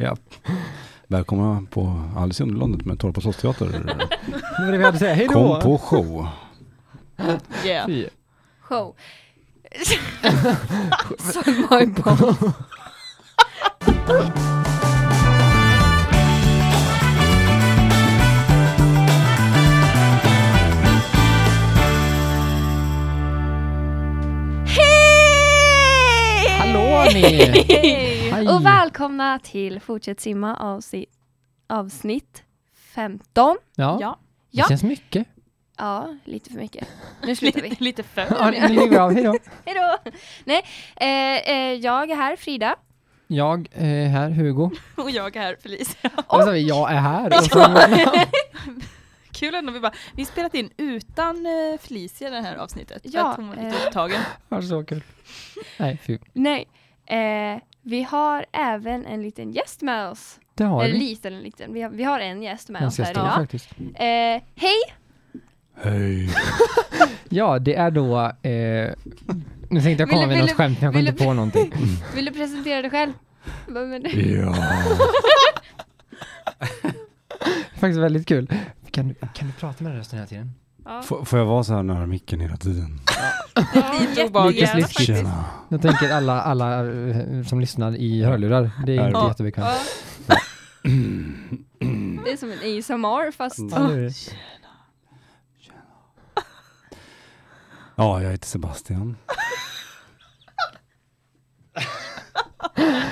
Ja. Välkomna på Alice i Underlandet med Torpa Slottsteater. Det var det vi hade att säga. Hej Kom då! på show. Yeah. Fy. Show. Suck my balls. Hej! Hallå ni! Hej. Och välkomna till Fortsätt simma avsnitt, avsnitt 15. Ja, Ja, det Ja. känns mycket. Ja, lite för mycket. Nu slutar vi. lite, lite Ja, för. nu lägger vi av. Hej då! Hej då! Nej, eh, eh, jag är här, Frida. Jag är här, Hugo. Och jag är här, Felicia. Och så sa vi, jag är här. Och så, Kul ändå, vi bara, vi har spelat in utan eh, Felicia det här avsnittet. för Ja, att hon var lite eh. upptagen. var så kul. Nej, fy. Nej, eh, vi har även en liten gäst med oss. Det har Eller vi. liten, liten. Vi har, vi har en gäst med Ganska oss här stor idag. faktiskt. Eh, hej! Hej. Ja, det är då... Eh, nu tänkte jag komma Ville- med något ville- skämt, men jag kom ville- inte på någonting. Vill du presentera dig själv? Vad menar du? Ja. Faktiskt väldigt kul. Kan du, kan du prata med den rösten hela tiden? Ja, F- får jag vara så här nära micken hela tiden? ja, Lite jättegärna obehagligt. faktiskt. Tjena. Jag tänker alla, alla eh, som lyssnar i hörlurar. Det är inte Ja. jättebekvämt. Ja. Det är som en ASMR fast... Ja, det är det. Ja, jag heter Sebastian.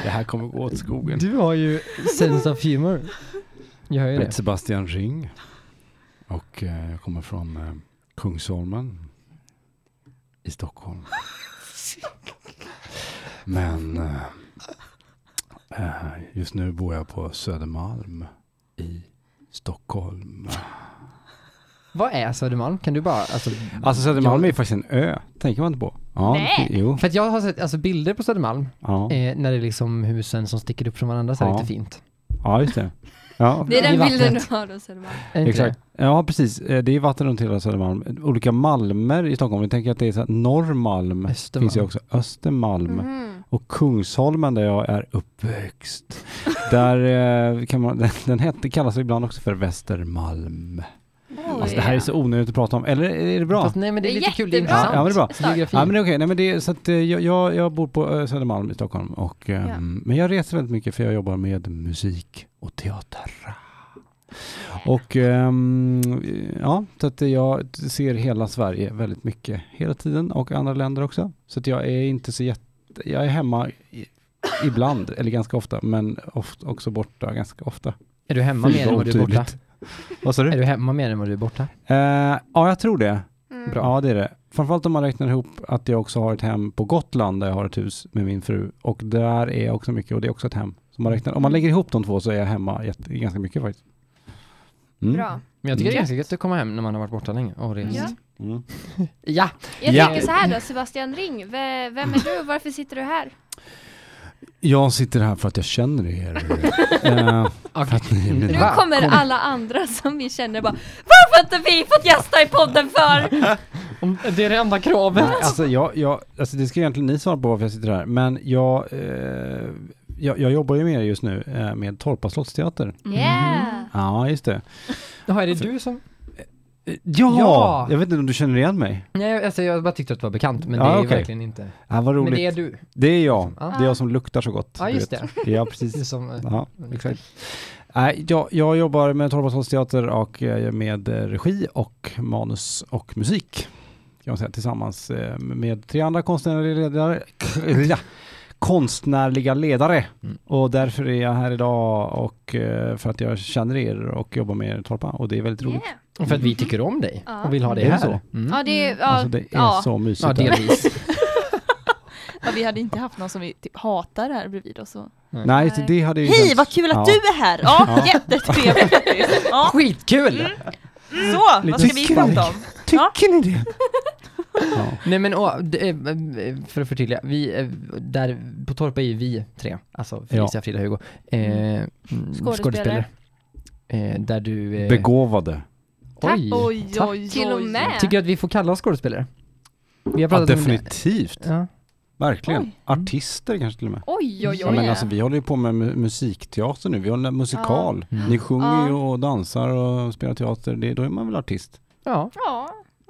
Det här kommer gå åt skogen. Du har ju sense of humor. Jag hör ju Jag det. heter Sebastian Ring och eh, jag kommer från eh, Kungsholmen i Stockholm. Men eh, eh, just nu bor jag på Södermalm i Stockholm. Vad är Södermalm? Kan du bara, alltså, Alltså Södermalm är faktiskt en ö, tänker man inte på. Ja, Nej. Jo. för att jag har sett alltså, bilder på Södermalm, Ja. eh, när det är liksom husen som sticker upp från varandra så här Ja. lite fint. ja, just det. Ja, Det är I den bilden vattnet. du har då Södermalm. Är inte Exakt. Ja, precis. Eh, Det är vatten runt hela Södermalm. Olika malmer i Stockholm. Jag tänker att det är så här, Norrmalm Det? Östermalm. finns ju också. Östermalm. Mhm. Och Kungsholmen där jag är uppväxt. där eh, kan man, den, den hette, kallas ibland också för Västermalm. Oj. Alltså det här är så onödigt att prata om. Eller är det bra? Fast, nej men det är Det är lite kul, det är jättebra. intressant. Ja, men det är bra. Starkt. Geografi. Ja men det är okej, nej men det är så att eh, jag, jag, jag bor på eh, Södermalm i Stockholm och ehm, Ja. men jag reser väldigt mycket för jag jobbar med musik och teater. Och ehm, ja, så att jag ser hela Sverige väldigt mycket hela tiden och andra länder också. Så att jag är inte så jätte, jag är hemma i, ibland, eller ganska ofta, men ofta, också borta ganska ofta. Är du hemma mer än vad du är borta? Otydligt. Vad sa du? Är du hemma mer än vad du är borta? Eh, ja, jag tror det. Mm. Bra. Ja, det är det. Framförallt om man räknar ihop att jag också har ett hem på Gotland där jag har ett hus med min fru. Och där är jag också mycket och det är också ett hem. Så man räknar, om man lägger ihop de två så är jag hemma jätte, ganska mycket faktiskt. Mm. Bra. Men jag tycker det är Mm. ganska gött att komma hem när man har varit borta länge och rest. Ja. Mm. Ja. Jag Ja. tänker så här då, Sebastian Ring, ve- vem är du och varför sitter du här? Jag sitter här för att jag känner er. eh, för att ni är Nu mina. Va? kommer Kom. alla andra som vi känner bara Varför har inte vi fått gästa i podden för? Det är det enda kravet. Nej, alltså, jag, jag, alltså det ska egentligen ni svara på varför jag sitter här. Men jag, eh, jag, jag jobbar ju med er just nu eh, med Torpa slottsteater. Mm. Yeah! Ja, just det. Jaha, är det du som... Ja! Ja! Jag vet inte om du känner igen mig? Nej, alltså jag bara tyckte att det var bekant, men Ja, det är ju okej. verkligen inte. Ja, vad roligt. Men det är du. Det är jag. Ja. Det är jag som luktar så gott. Ja, du just vet. det. Ja, Du precis. som... eh, Ja, exakt. Nej, jag, jag jobbar med Torvalds teater och eh, med eh, regi och manus och musik. Kan man säga, tillsammans eh, med tre andra konstnärliga ledare. Ja, konstnärliga ledare. Mm. Och därför är jag här idag och eh, för att jag känner er och jobbar med er Torpa och det är väldigt roligt. Yeah. För att vi tycker om dig Ja. och vill ha dig Är det här. så? Mm. Ja, det är, ja, Alltså det är ja. så mysigt. Ja, här. delvis. Ja, vi hade inte haft någon som vi typ hatar här bredvid oss. Och... Nej, så det hade ju Hej, känts- vad kul att Ja. du är här! Ja, Ja. jättetrevligt faktiskt. Ja. Skitkul! Så, vad ska vi Mm. Lite prata om? Ja. Tycker ni det? ja. Nej men åh, det, eh, eh, för att förtydliga, vi, eh, där på Torpa är ju vi tre, alltså Felicia, Frida, Hugo, eh, mm, skådespelare. Eh, där du... Eh, Begåvade. Tack. oj, Oj, tack. oj, oj. Till och med. Tycker du att vi får kalla oss skådespelare? Vi har Ja, pratat om det. definitivt. Ja. Mm. Verkligen. Oj. Artister kanske till och med. Oj, oj, Ja, oj. men alltså, vi håller ju på med mu- musikteater nu, vi har en musikal. Mm. Ni sjunger ju Ja. och dansar och spelar teater, det, då är man väl artist. Ja. Ja.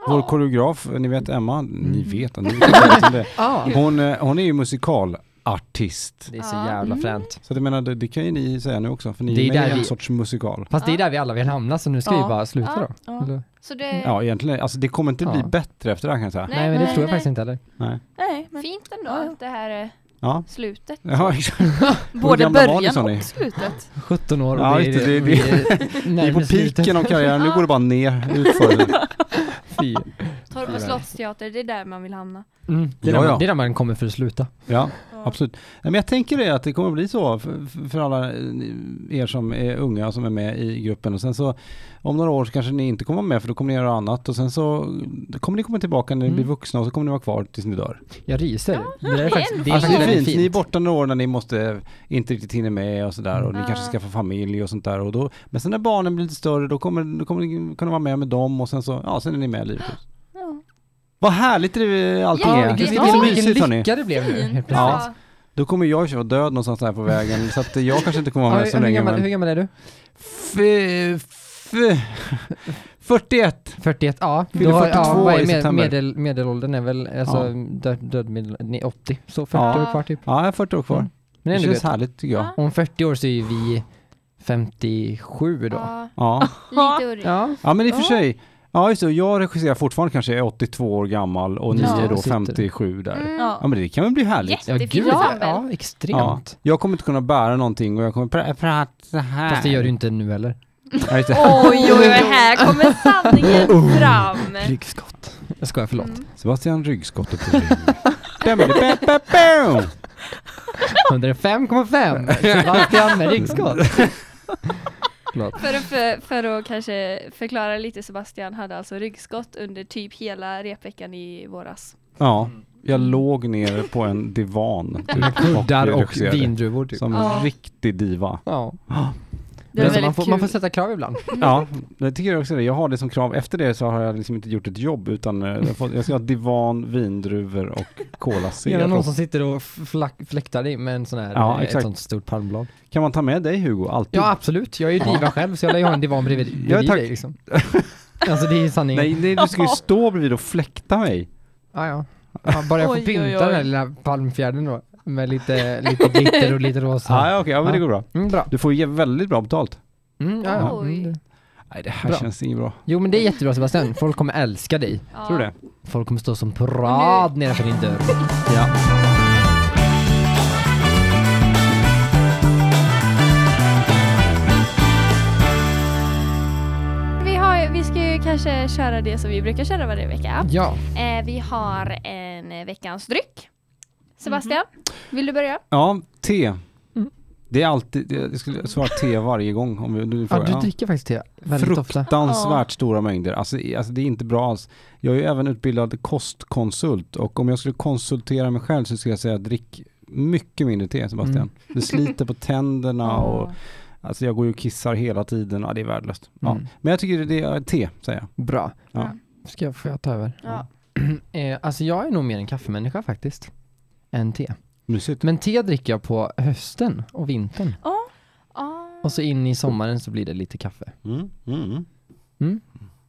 Vår Ja. koreograf, ni vet Emma, ni Mm. vet, ni vet om det. Ah. Hon, eh, hon är ju musikalartist. Det är så Ja. jävla Mm. fränt. Så att jag menar, det, det kan ju ni säga nu också, för ni Det är är med där i en vi- sorts musikal. Fast det är Ja. där vi alla vill hamna så nu ska Ja. vi bara sluta Ja. då. Ja. Eller? Så det Ja, egentligen, alltså det kommer inte bli Ja. bättre efter det här kan jag säga. Nej, men det nej, tror jag nej. faktiskt inte heller. Nej. Nej, är men fint ändå Ja, ja. att det här är Ja. slutet. Ja, exakt. både gamla var ni, sa början ni? och slutet. 17 år och Ja, vi, just det, det- vi är Vi är på närmare slutet. piken av karriären, nu går det bara ner utför. Fy. Torp och slottsteater, det är där man vill hamna. Mm. Det, är Ja, där ja. man, det är där man kommer för att sluta. Ja. Absolut. Nej, Men jag tänker det att det kommer bli så för, för alla eh, er som är unga och som är med i gruppen och sen så om några år så kanske ni inte kommer vara med för då kommer ni göra annat och sen så kommer ni komma tillbaka när ni Mm. blir vuxna och så kommer ni vara kvar tills ni dör. Jag ryser. det där det är är faktiskt, ändå det är alltså det är väldigt fint. fint. ni är borta några år när ni måste inte riktigt hinner med och sådär och ni Mm. kanske Ah. skaffar familj och sånt där och då, men sen när barnen blir lite större då kommer, då kommer ni kunna vara med med dem och sen så, ja sen är ni med livet ut. Ja. Vad härligt det, eh, allting Ja, är. Gud, det är Det är så vilken, vilken mysigt hörni. lycka det blev nu helt plötsligt. Ja. Då kommer jag ju vara död någonstans här på vägen så att jag kanske inte kommer vara Ja, med så hur, hur, länge. gammal, Men... hur gammal är du? F- f- 41. 41? Ja, Fyller har- 42 vad är i med- september. Medel, medelåldern är väl, alltså Ja. död, död medel, nej, 80, så 40 Ja. år kvar typ. Ja, jag har 40 år kvar. Mm. Men Det ändå känns gött. härligt tycker jag. Ja. Om 40 år så är ju vi 57 då. Ja, Ja, lite urrigt. Ja. ja men i och för Ja. sig. Ja, just det. Och Jag regisserar fortfarande kanske, jag är 82 år gammal och ni Ja. är då Sitter. 57 där. Mm. Ja. Ja, men det kan väl bli härligt. Ja, Jättefin gud, ja, ensemble. ja, Ja. extremt. Jag kommer inte kunna bära någonting och jag kommer pra- prata så här. Fast det gör du inte nu heller. Ja, just det. Oj, oj, oj, här kommer sanningen fram. Ryggskott. Jag skojar, förlåt. Mm. Sebastian ryggskottet försvinner. Bam, bam, bam, bam. 105,5! Sebastian med ryggskott. Förlåt. För att, för, för att kanske förklara lite, Sebastian hade alltså ryggskott under typ hela repveckan i våras. Ja, jag låg ner på en divan. typ, Kuddar och regisserade. vindruvor typ. Som en Ja. riktig diva. Ja. Det var Men så man, väldigt får, kul. man får sätta krav ibland. Ja, det tycker jag också det. Jag har det som krav. Efter det så har jag liksom inte gjort ett jobb utan eh, jag, har fått, jag ska ha divan, vindruvor och cola Gärna Zero. någon som sitter och flack, fläktar dig med en sån här, Ja, eh, ett exakt. sånt stort palmblad. Kan man ta med dig Hugo? Alltid? Ja absolut, jag är ju diva själv så jag lär ju ha en divan bredvid, bredvid Ja, tack. dig liksom. Alltså det är ju sanningen. Nej, nej, du ska ju stå bredvid och fläkta mig. Ja, ja. ja. Bara jag får Oj, pynta oj, oj. den här lilla palmfjärden då. Med lite, lite glitter och lite Ah, rosa. ja, okej, ja, men det Ja. går bra. Mm, bra. Du får ju väldigt bra betalt. Mm, ja, ja. Oj. Mm, det. Nej, det här Bra. känns inget bra. Jo men det är jättebra Sebastian, folk kommer älska dig. Ja. Tror du det? Folk kommer stå som parad nedanför din dörr. Ja. Vi, har, vi ska ju kanske köra det som vi brukar köra varje vecka. Ja. Eh, vi har en eh, veckans dryck. Sebastian, Mhm. vill du börja? Ja, te. Mm. Det är alltid, det- jag skulle svara te varje gång om vi, du ja, frågar. du dricker faktiskt te väldigt ofta. Fruktansvärt stora mängder. Alltså, i- alltså det är inte bra alls. Jag är ju även utbildad kostkonsult och om jag skulle konsultera mig själv så skulle jag säga drick mycket mindre te Sebastian. Mm. Det sliter på tänderna och alltså jag går ju och kissar hela tiden. Ja, det är värdelöst. Ja. Mm. Men jag tycker det är te säger jag. Bra. Ja. Ska jag, får jag ta över? Ja. Eh, alltså jag är nog mer en kaffemänniska faktiskt. Än te. Mysigt. Men te dricker jag på hösten och vintern. Ah. Och så in i sommaren så blir det lite kaffe. Mm. Mm.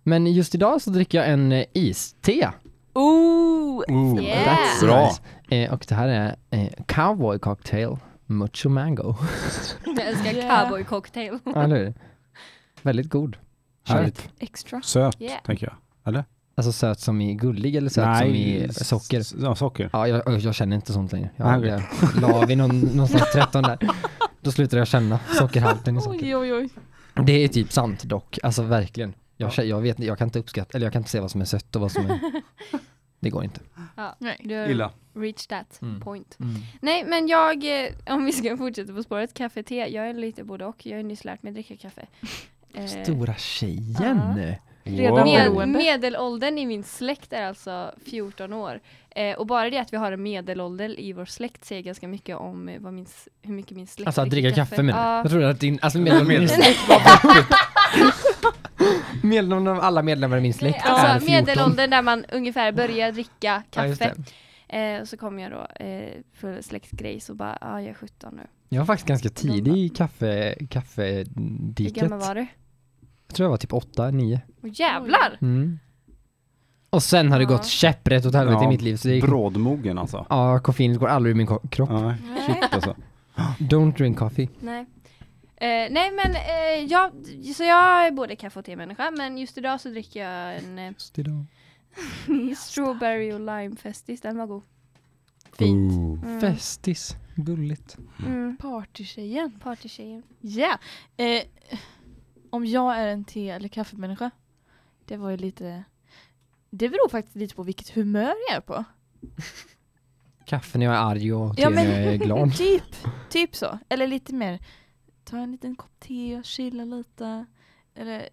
Men just idag så dricker jag en eh, iste. Oh! Oh, Yeah. That's Bra. nice. Eh, och det här är eh, cowboy cocktail mucho mango. Jag älskar Yeah. cowboy cocktail. Ja, eller hur? Väldigt god. Härligt. Extra. Söt Yeah. tänker jag. Alltså söt som i gullig eller söt som i s- socker? s- Ja, socker. Ja, jag, jag känner inte sånt längre. Jag, Nej, jag la vid någon, någonstans 13 där. Då slutade jag känna sockerhalten i socker. Oj, oj, oj. Det är typ sant dock, alltså verkligen. Jag, kä- jag, vet, jag kan inte uppskatta, eller jag kan inte se vad som är sött och vad som är... Det går inte. Ja. Nej. Du har Illa. reached that Mm. point. Mm. Nej, men jag, eh, om vi ska fortsätta på spåret, kaffe, te. Jag är lite både och. Jag har nyss lärt mig dricka kaffe. Eh, Stora tjejen! Redan Wow. Med, beroende. medelåldern i min släkt är alltså 14 år. Eh, och bara det att vi har en medelålder i vår släkt säger ganska mycket om eh, vad min, s- hur mycket min släkt Alltså att dricka kaffe med Ja. Jag trodde att din, alltså medlem, min släkt var medlem av alla medlemmar i min släkt Nej, alltså är 14. medelåldern där man ungefär börjar dricka Ja, just kaffe. det. Eh, och så kom jag då eh, för släktgrej så bara, ja ah, jag är 17 nu. Jag var faktiskt ganska tidig i kaffe, Hur kaffediket. gammal var du? Jag tror jag var typ åtta, nio. Åh jävlar! Mm. Och sen har det Ja. gått käpprätt åt helvete i Ja, mitt liv. Så det gick, Brådmogen alltså. ja, koffeinet går aldrig ur min ko- kropp. Nej, Nej. shit alltså. Don't drink coffee. Nej. Eh, nej men eh, jag, så jag är både kaffe och te-människa men just idag så dricker jag en eh, Just idag. strawberry och lime festis, den var god. Fint. Ooh. Mm. Festis. Gulligt. Mm. Partytjejen. Partytjejen. Ja. Eh, om jag är en te eller kaffemänniska. Det var ju lite... Det beror faktiskt lite på vilket humör jag är på. Kaffe när jag är arg och te Ja, men- när jag är glad. Typ, typ så. Eller lite mer, ta en liten kopp te och chilla lite. Eller,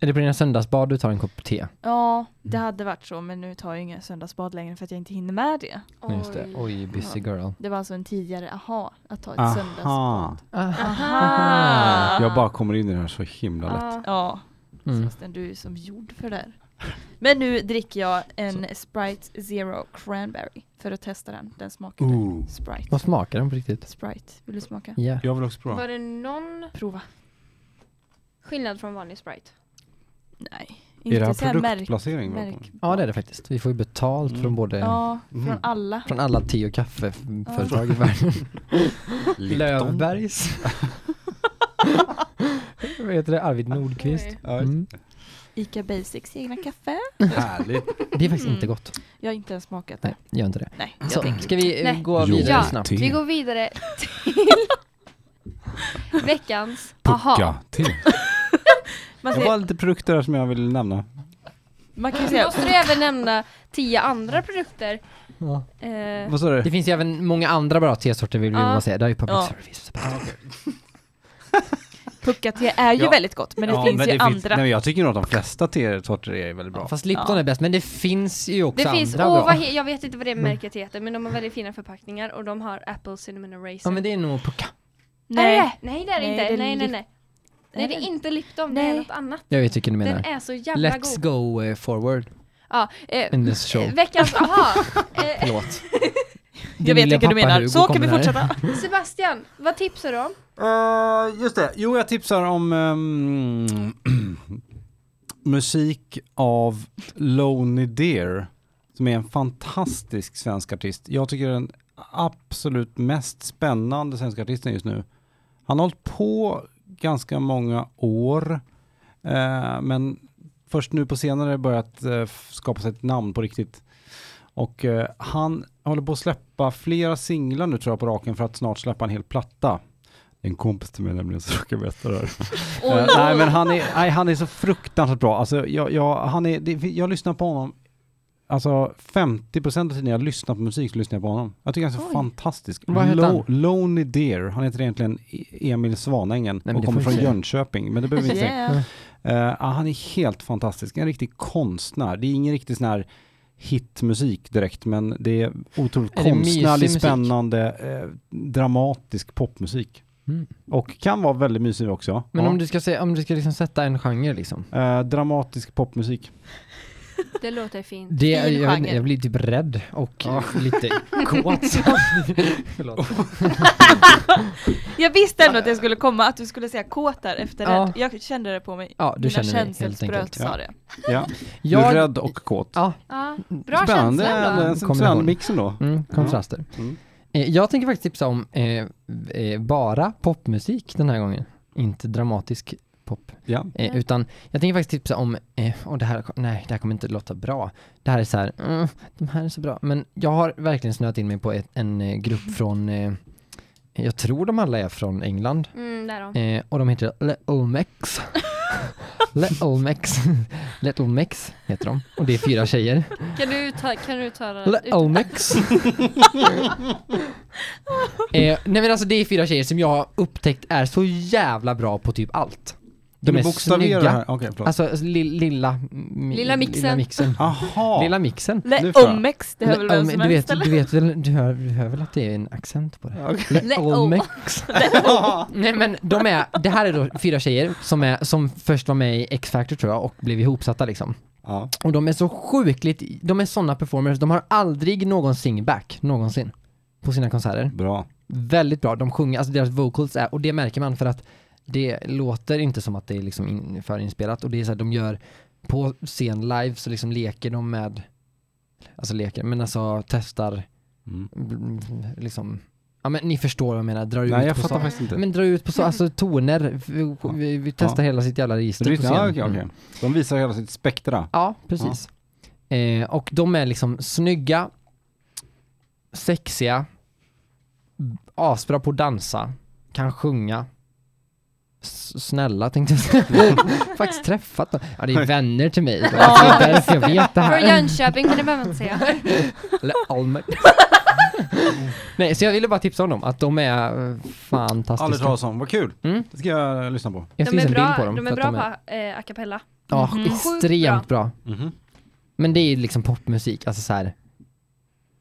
Är det på dina söndagsbad du tar en kopp te? ja, det Mm. hade varit så men nu tar jag inga söndagsbad längre för att jag inte hinner med det. Nej, Just det. Oj, busy girl. Det var alltså en tidigare aha att ta ett Aha. söndagsbad. Aha. Ah. Jag bara kommer in i det här så himla lätt. Ja, Ja. Mm. Sebastian du är som gjord för det här. Men nu dricker jag en Sprite Zero Cranberry för att testa den. Den smakade Ooh. Sprite. Vad smakar den på riktigt? Sprite, vill du smaka? Ja. Jag vill också prova. Var det någon Prova. skillnad från vanlig Sprite? Nej, Är det här så här märk- produktplacering? märk- Ja, det är det faktiskt. Vi får ju betalt Mm. från både Ja, från Mm. alla. från alla te och kaffeföretag i världen. Löfbergs. Vad heter det? Arvid Nordqvist. Oj. Ja, Mm. Ica Basics egna kaffe. Härligt. Det är faktiskt Mm. inte gott. Jag har inte ens smakat det. Nej, gör inte det. Nej, jag Så, tänker. ska vi eh, Nej. gå Jo. vidare Ja. snabbt? Te. Vi går vidare till veckans aha. Pucka till. Man, Det ser, Eh. var lite produkter här som jag ville nämna. man kan ju Nu säga, måste du även nämna tio andra produkter. Ja. Eh, Vad sa Det du? finns ju även många andra bra tesorter vill vi Ja. bara säga. Det är ju public Ja. service. puckat te är ju Ja. väldigt gott men det Ja, finns men ju det finns- andra. Nej, men jag tycker nog att de flesta tesorter är väldigt bra. Fast Lipton Ja. är bäst, men det finns ju också det finns, andra oh, bra. vad he, jag vet inte vad det Mm. märket heter men de har väldigt fina förpackningar och de har Apple Cinnamon och Ja Raisin. men det är nog pucka. Nej. Är Nej. det? Nej det är det Nej, inte. det är nej, nej, Lip- nej. Nej det är inte Lipton, det Nej. är något annat. Jag vet vilken du Den menar. är så jävla Let's god. go eh, forward Ja, eh, in this show. eh, veckans aha. Eh, Förlåt. Jag vet vilka du menar. Så kan vi fortsätta. Sebastian, vad tipsar du om? Eh, just det. Jo, jag tipsar om ehm, musik av Lonely Deer som är en fantastisk svensk artist. Jag tycker den absolut mest spännande svenska artisten just nu. Han har hållit på ganska många år, eh, men först nu på senare börjat eh, f- skapa sig ett namn på riktigt. Och eh, han håller på att släppa flera singlar nu tror jag på raken för att snart släppa en hel platta. En kompis till mig nämligen som råkar berätta det här. Oh, Eh, nej men han är, nej, han är så fruktansvärt bra. Alltså, jag, jag, han är, det, jag lyssnar på honom, alltså 50% av tiden jag lyssnar på musik så lyssnar jag på honom. Jag tycker han är så Oj. fantastisk. Vad heter han? Lonely Deer, han heter egentligen E- Emil Svanängen men och det kommer får från vi säga. Jönköping, men det behöver vi inte säga. Yeah. Eh, ja, han är helt fantastisk, en riktig konstnär. Det är ingen riktig sån här hitmusik direkt, men det är otroligt Är det mysig konstnärlig, musik? spännande, eh, dramatisk popmusik. Mm. Och kan vara väldigt mysig också. Men Ja. om du ska, säga, om du ska liksom sätta en genre liksom. Eh, dramatisk popmusik. Det låter fint. Det, jag, Fin vet inte, genre. jag blir typ rädd och Ja. eh, lite kåt. Förlåt. Jag visste ändå att det skulle komma, att du skulle säga kåt där efter Ja. rädd. Jag kände det på mig. Ja, du Mina känner det helt enkelt. känselspröt sa Ja. det. Ja. Du är Jag, rädd och kåt. ja, Ja, bra spännande, känsla ändå. en Kommer spännande ihåg. mix ändå. mm, kontraster. Mm. Eh, jag tänker faktiskt tipsa om eh, eh, bara popmusik den här gången. Inte dramatisk pop. Ja. Eh, Ja. Utan jag tänker faktiskt tipsa om, eh, och det här, nej det här kommer inte låta bra. Det här är så här, mm, de här är så bra. Men jag har verkligen snöat in mig på ett, en eh, grupp från, eh, jag tror de alla är från England. Mm, därom. Eh, och de heter Little Mex. Little Mex. Little Mex heter de. Och det är fyra tjejer. Kan du ta, kan du ta det? Little Mex. eh, nej men alltså det är fyra tjejer som jag har upptäckt är så jävla bra på typ allt. De är bokstaverar snygga. här. Okej, förlåt. Alltså li, lilla, mi- Lilla Lilla mixen. mixen. Aha. Lilla mixen. Nu Le får jag. Omex, det hör väl vem Om- som du vet, helst eller? du vet väl, du hör, du hör väl att det är en accent på det? Okej. Le oh. Olmex. Nej men de är, det här är då fyra tjejer som, är, som först var med i X-Factor tror jag och blev ihopsatta liksom. Ja. Och de är så sjukligt, de är sådana performers, de har aldrig någon singback någonsin på sina konserter. Bra. Väldigt bra, de sjunger, alltså deras vocals är, och det märker man för att det låter inte som att det är liksom in, förinspelat och det är så här, de gör på scen live så liksom leker de med, alltså leker, men alltså testar, Mm. mm, liksom, ja men ni förstår vad jag menar, drar Nej, ut jag på fattar saker. faktiskt inte. Men, Men drar ut på så, alltså toner, vi, vi, vi testar hela sitt jävla register du, på scen. ja, okej, Mm. okej. De visar hela sitt spektra. Ja, precis. Eh, och de är liksom snygga, sexiga, b- asbra på att dansa, kan sjunga, S- snälla tänkte jag säga. Faktiskt träffat dem. Ja, det är vänner till mig. så Det är därför jag vet det Från här. Jönköping, men det behöver man inte säga. Eller Almer. Nej, så jag ville bara tipsa om dem, att de är eh, Aldrig fantastiska. talas om, vad kul. Mm. Det ska jag eh, lyssna på. Jag ska De visa är en bild på bra, dem. de för är att bra på eh, a cappella. Ja, Mhm. extremt Sjukt bra. Mhm. Men det är liksom popmusik, alltså såhär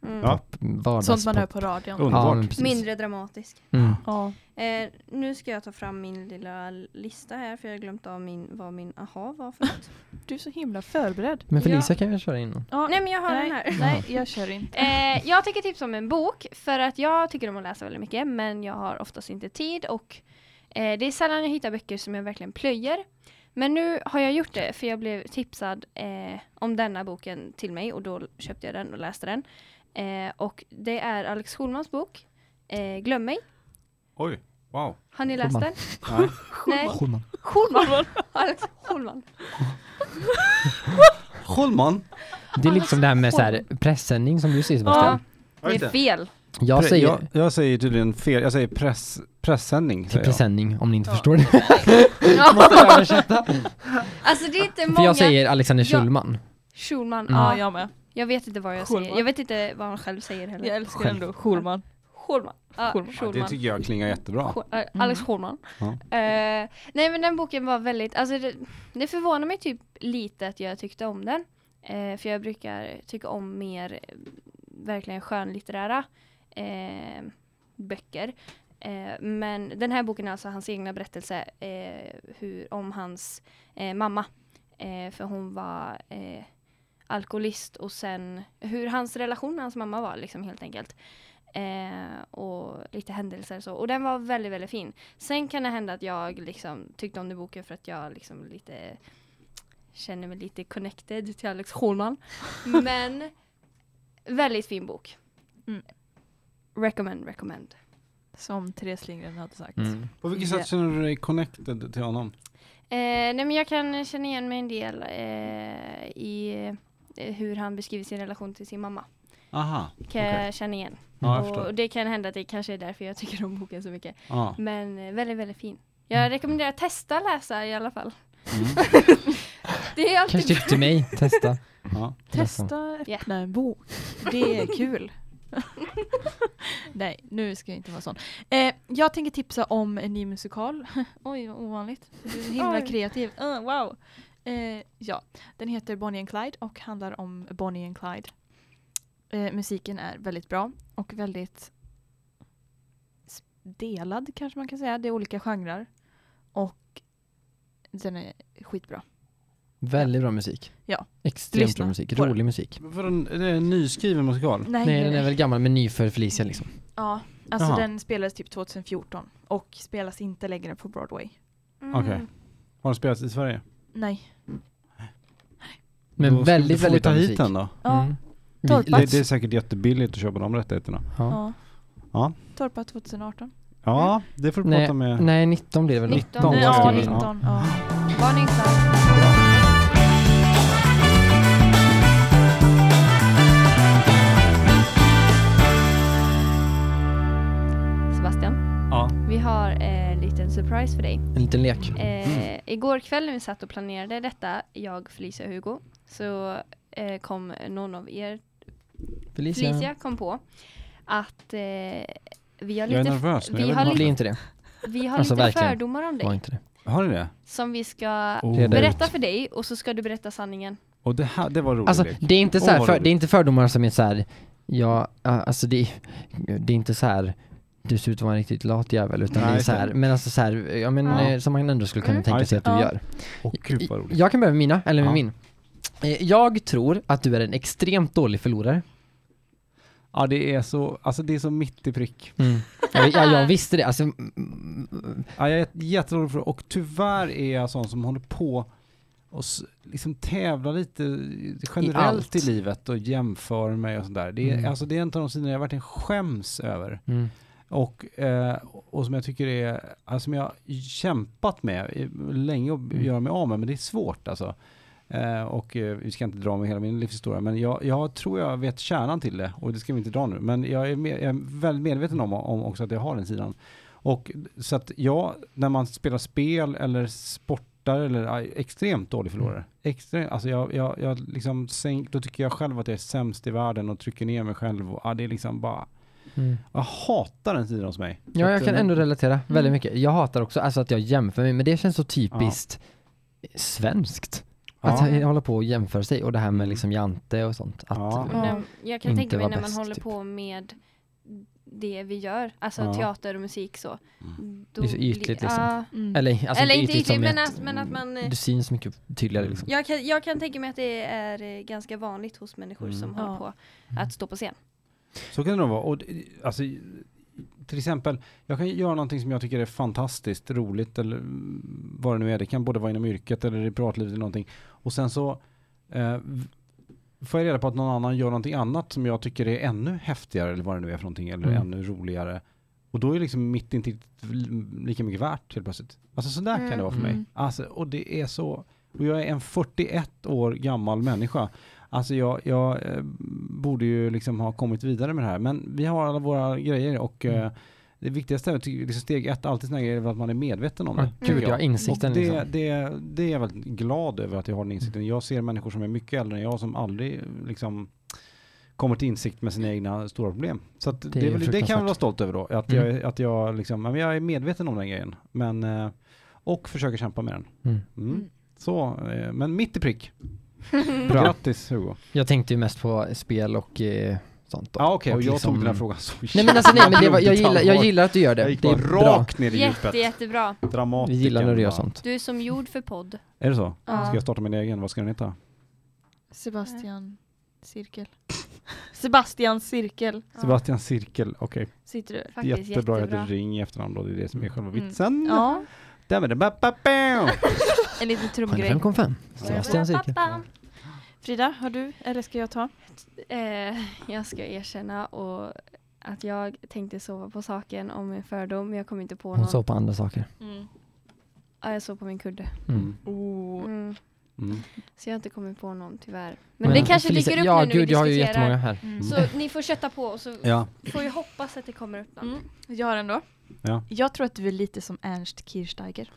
Mm. Ja. Sånt man hör vardagspop. på radion. Ja, Underbart. men precis. Mindre dramatisk. Mm. Ja. Eh, nu ska jag ta fram min lilla lista här för jag har glömt av min, vad min aha var för något. Du är så himla förberedd. Men Ja. Felicia kan ju köra in någon. Ja, Nej men jag har nej, den här. Nej, jag kör inte. Eh, jag tänker tipsa om en bok för att jag tycker om att läsa väldigt mycket men jag har oftast inte tid och eh, det är sällan jag hittar böcker som jag verkligen plöjer. Men nu har jag gjort det för jag blev tipsad eh, om denna boken till mig och då köpte jag den och läste den. Eh, och det är Alex Schulmans bok eh, Glöm mig. Oj, wow. Har ni läst Schulman. den? Nej. Schulman. Schulman! Alex Schulman. Holman. Det är liksom det här med så här pressändning som du säger Ja, Sebastian. det är fel. Jag säger jag, jag säger tydligen fel, jag säger press, pressändning. till Säger jag. presenning om ni inte förstår det. Ja, Översätta. alltså det är inte För många. jag säger Alexander Ja. Schulman. Schulman, Mm. ja. Ja, jag med. Jag vet inte vad jag Schulman. säger. Jag vet inte vad han själv säger heller. Jag älskar ändå Schulman. Schulman. Ja, Schulman. Schulman. Ja, det tycker jag klingar jättebra. Schu- eh, Alex Schulman. Ja. Eh, nej men den boken var väldigt, alltså det, det förvånar mig typ lite att jag tyckte om den. Eh, för jag brukar tycka om mer eh, verkligen skönlitterära eh, böcker. Eh, men den här boken är alltså hans egna berättelse eh, hur, om hans eh, mamma. Eh, för hon var eh, alkoholist och sen hur hans relation med hans mamma var liksom helt enkelt. Eh, och lite händelser och så. Och den var väldigt, väldigt fin. Sen kan det hända att jag liksom tyckte om den boken för att jag liksom lite känner mig lite connected till Alex Schulman. Men väldigt fin bok. Mm. Recommend, recommend. Som Therese Lindgren hade sagt. Mm. På vilket Ja. sätt känner du dig connected till honom? Eh, nej men jag kan känna igen mig en del eh, i eh, hur han beskriver sin relation till sin mamma. Aha, Kan Okej. jag känna igen. ja jag och förstår. det kan hända att det kanske är därför jag tycker om boken så mycket. Ja. Men eh, väldigt, väldigt fin. Jag rekommenderar att testa läsa i alla fall. Mm. Det är alltid Kanske tips till mig, testa. Ja. Testa öppna Ja. en bok. Det är kul. Nej, nu ska jag inte vara sån. Eh, jag tänker tipsa om en ny musikal. Oj, vad ovanligt. Du är så himla Oj. kreativ. Uh, wow. Eh, ja, den heter Bonnie and Clyde och handlar om Bonnie and Clyde. Eh, musiken är väldigt bra och väldigt s- delad kanske man kan säga. Det är olika genrer. Och den är skitbra. Väldigt bra musik. Ja. Extremt Lyssna bra musik, på den. rolig musik. För en, det är en nyskriven musikal? Nej den är väl gammal men ny för Felicia liksom. Ja, alltså Jaha. den spelades typ 2014 och spelas inte längre på Broadway. Mm. Okej. Har den spelats i Sverige? Nej. Men Då ska- väldigt, då får vi väldigt ta bra hit musik. den då. Ja, Mm. Vi- Torpa. Det, det är säkert jättebilligt att köpa de rättigheterna. Ja. ja. Ja. Torpa 2018. Ja, Mm. det får du prata med. Nej, 19 blir det väl? då? 19. Någon Nej, gång ska ja, vi- 19. Ja. Var ni exakt? Sebastian, Ja. vi har eh, en liten surprise för dig. En liten lek. Eh, Mm. Igår kväll när vi satt och planerade detta, jag, Felicia och Hugo, så eh, kom någon av er, Felicia. Felicia kom på att eh, vi har Jag är lite, nervös nu. vi jag vet har inte Bli lite- inte det. vi har Alltså, lite verkligen. fördomar om dig Var inte det. varför. Har ni det? som vi ska Oh. Reda ut. berätta för dig och så ska du berätta sanningen. Och det, här, det var roligt. Alltså det är inte så här, Åh, vad för, roligt. det är inte fördomar som är så här, ja, ja, alltså det, det är inte så här du ser ut att vara en riktigt lat jävel utan Nej, det är så här, exakt. men alltså så här, ja men Ja. eh, som man ändå skulle kunna Mm. tänka sig att du Ja. gör. Åh gud vad roligt. Jag kan börja med mina, eller med Ja. min. Eh, Jag tror att du är en extremt dålig förlorare. Ja, det är så, alltså det är så mitt i prick. Jag, jag, jag visste det. Alltså, mm, Ja, jag är jätterolig för det. och tyvärr är jag sån som håller på och s- liksom tävlar lite generellt allt. i, livet och jämför mig och sådär. Det är, Mm. alltså, det är en av de sidorna jag verkligen skäms över. mm, Och, eh, och som jag tycker är, alltså, som jag har kämpat med i- länge att Mm. göra mig av med, men det är svårt alltså. Eh, och eh, vi ska inte dra med hela min livshistoria, men jag, jag tror jag vet kärnan till det, och det ska vi inte dra nu, men jag är, med, jag är väldigt medveten om, om också att jag har den sidan. Och så att jag, när man spelar spel eller sportar eller ja, extremt dålig förlorare, extremt, alltså jag, jag, jag liksom sänk, då tycker jag själv att jag är sämst i världen och trycker ner mig själv och ja, det är liksom bara, mm. jag hatar den sidan hos mig. Ja, Att, jag kan eh, ändå relatera Mm. väldigt mycket. Jag hatar också alltså att jag jämför mig, men det känns så typiskt svenskt. Ja. Att hålla på och jämföra sig och det här med Mm. liksom Jante och sånt. Att, eh, Ja. Och när, jag kan Inte tänka mig vara när man bäst, håller typ. på med det vi gör, alltså Ja. teater och musik så. Då Mm. Det är så ytligt bli- liksom. ja. Mm. Eller, alltså Eller inte ytligt som ytligt, i men att att, men att man... eh, Du syns mycket tydligare liksom. Jag kan, jag kan tänka mig att det är eh, ganska vanligt hos människor Mm. som Ja. håller på att stå på scen. Så kan det nog vara. Och, det- alltså, till exempel, jag kan göra någonting som jag tycker är fantastiskt roligt eller mm, vad det nu är. Det kan både vara inom yrket eller i privatlivet eller någonting. Och sen så eh, v- får jag reda på att någon annan gör någonting annat som jag tycker är ännu häftigare eller vad det nu är för någonting eller Mm. ännu roligare. Och då är liksom mitt inte lika mycket värt helt plötsligt. Alltså sådär kan det vara för mig. Mm. Alltså, och det är så, och jag är en 41 år gammal människa. Alltså jag, jag eh, borde ju liksom ha kommit vidare med det här, men vi har alla våra grejer och Mm. eh, det viktigaste, är att- liksom steg ett, alltid sådana grejer, är väl att man är medveten om det. Ja, Gud, tycker jag har jag. Och insikten det, liksom. Mm. det, det är jag väldigt glad över att jag har den insikten. Jag ser människor som är mycket äldre än jag som aldrig eh, liksom kommer till insikt med sina egna stora problem. Så att det, är är väl, det kan jag fruktansvärt. vara stolt över då, att, Mm. jag, att jag, liksom, ja, men jag är medveten om den grejen. Men, eh, och försöker kämpa med den. Mm. Mm. Mm. Så, eh, men mitt i prick. Bra. Grattis Hugo. Jag tänkte ju mest på spel och eh, sånt. då. Ja okej, och jag liksom- tog den här frågan så Nej men alltså nej, men det var, jag, blodigt gillar, jag allvar. gillar att du gör det. Jag gick det bara är bra. rakt ner i Jätte, djupet. jättebra. Vi Dramatiken. gillar när du gör bara. sånt. Du är som jord för podd. Är det så? Ja. Ska jag starta min egen? Vad ska den heta? Sebastian cirkel. Sebastian cirkel Sebastian Cirkel, okej. sitter du. Faktiskt Jättebra, jag jättebra. heter Ring i efternamn då, det är det som är själva Mm. vitsen. Ja, Där med det, ba, ba, bam. en liten trumgrej. 5,5. Sebastian Cirkel. Pappa. Frida, har du eller ska jag ta? Eh, jag ska erkänna och att jag tänkte sova på saken om min fördom, men jag kom inte på Hon någon. såg på andra saker. Mm. Ja, jag sov på min kudde. Mm. Oh. Mm. Mm. Så jag har inte kommit på någon tyvärr. Men, Men det kanske Felicia- dyker upp ja, nu när gud, vi jag har ju jättemånga diskuterar. här. Mm. Så ni får kötta på och så Ja. får vi hoppas att det kommer upp någon. Mm. Jag har en då. Ja. Jag tror att du är lite som Ernst Kirchsteiger.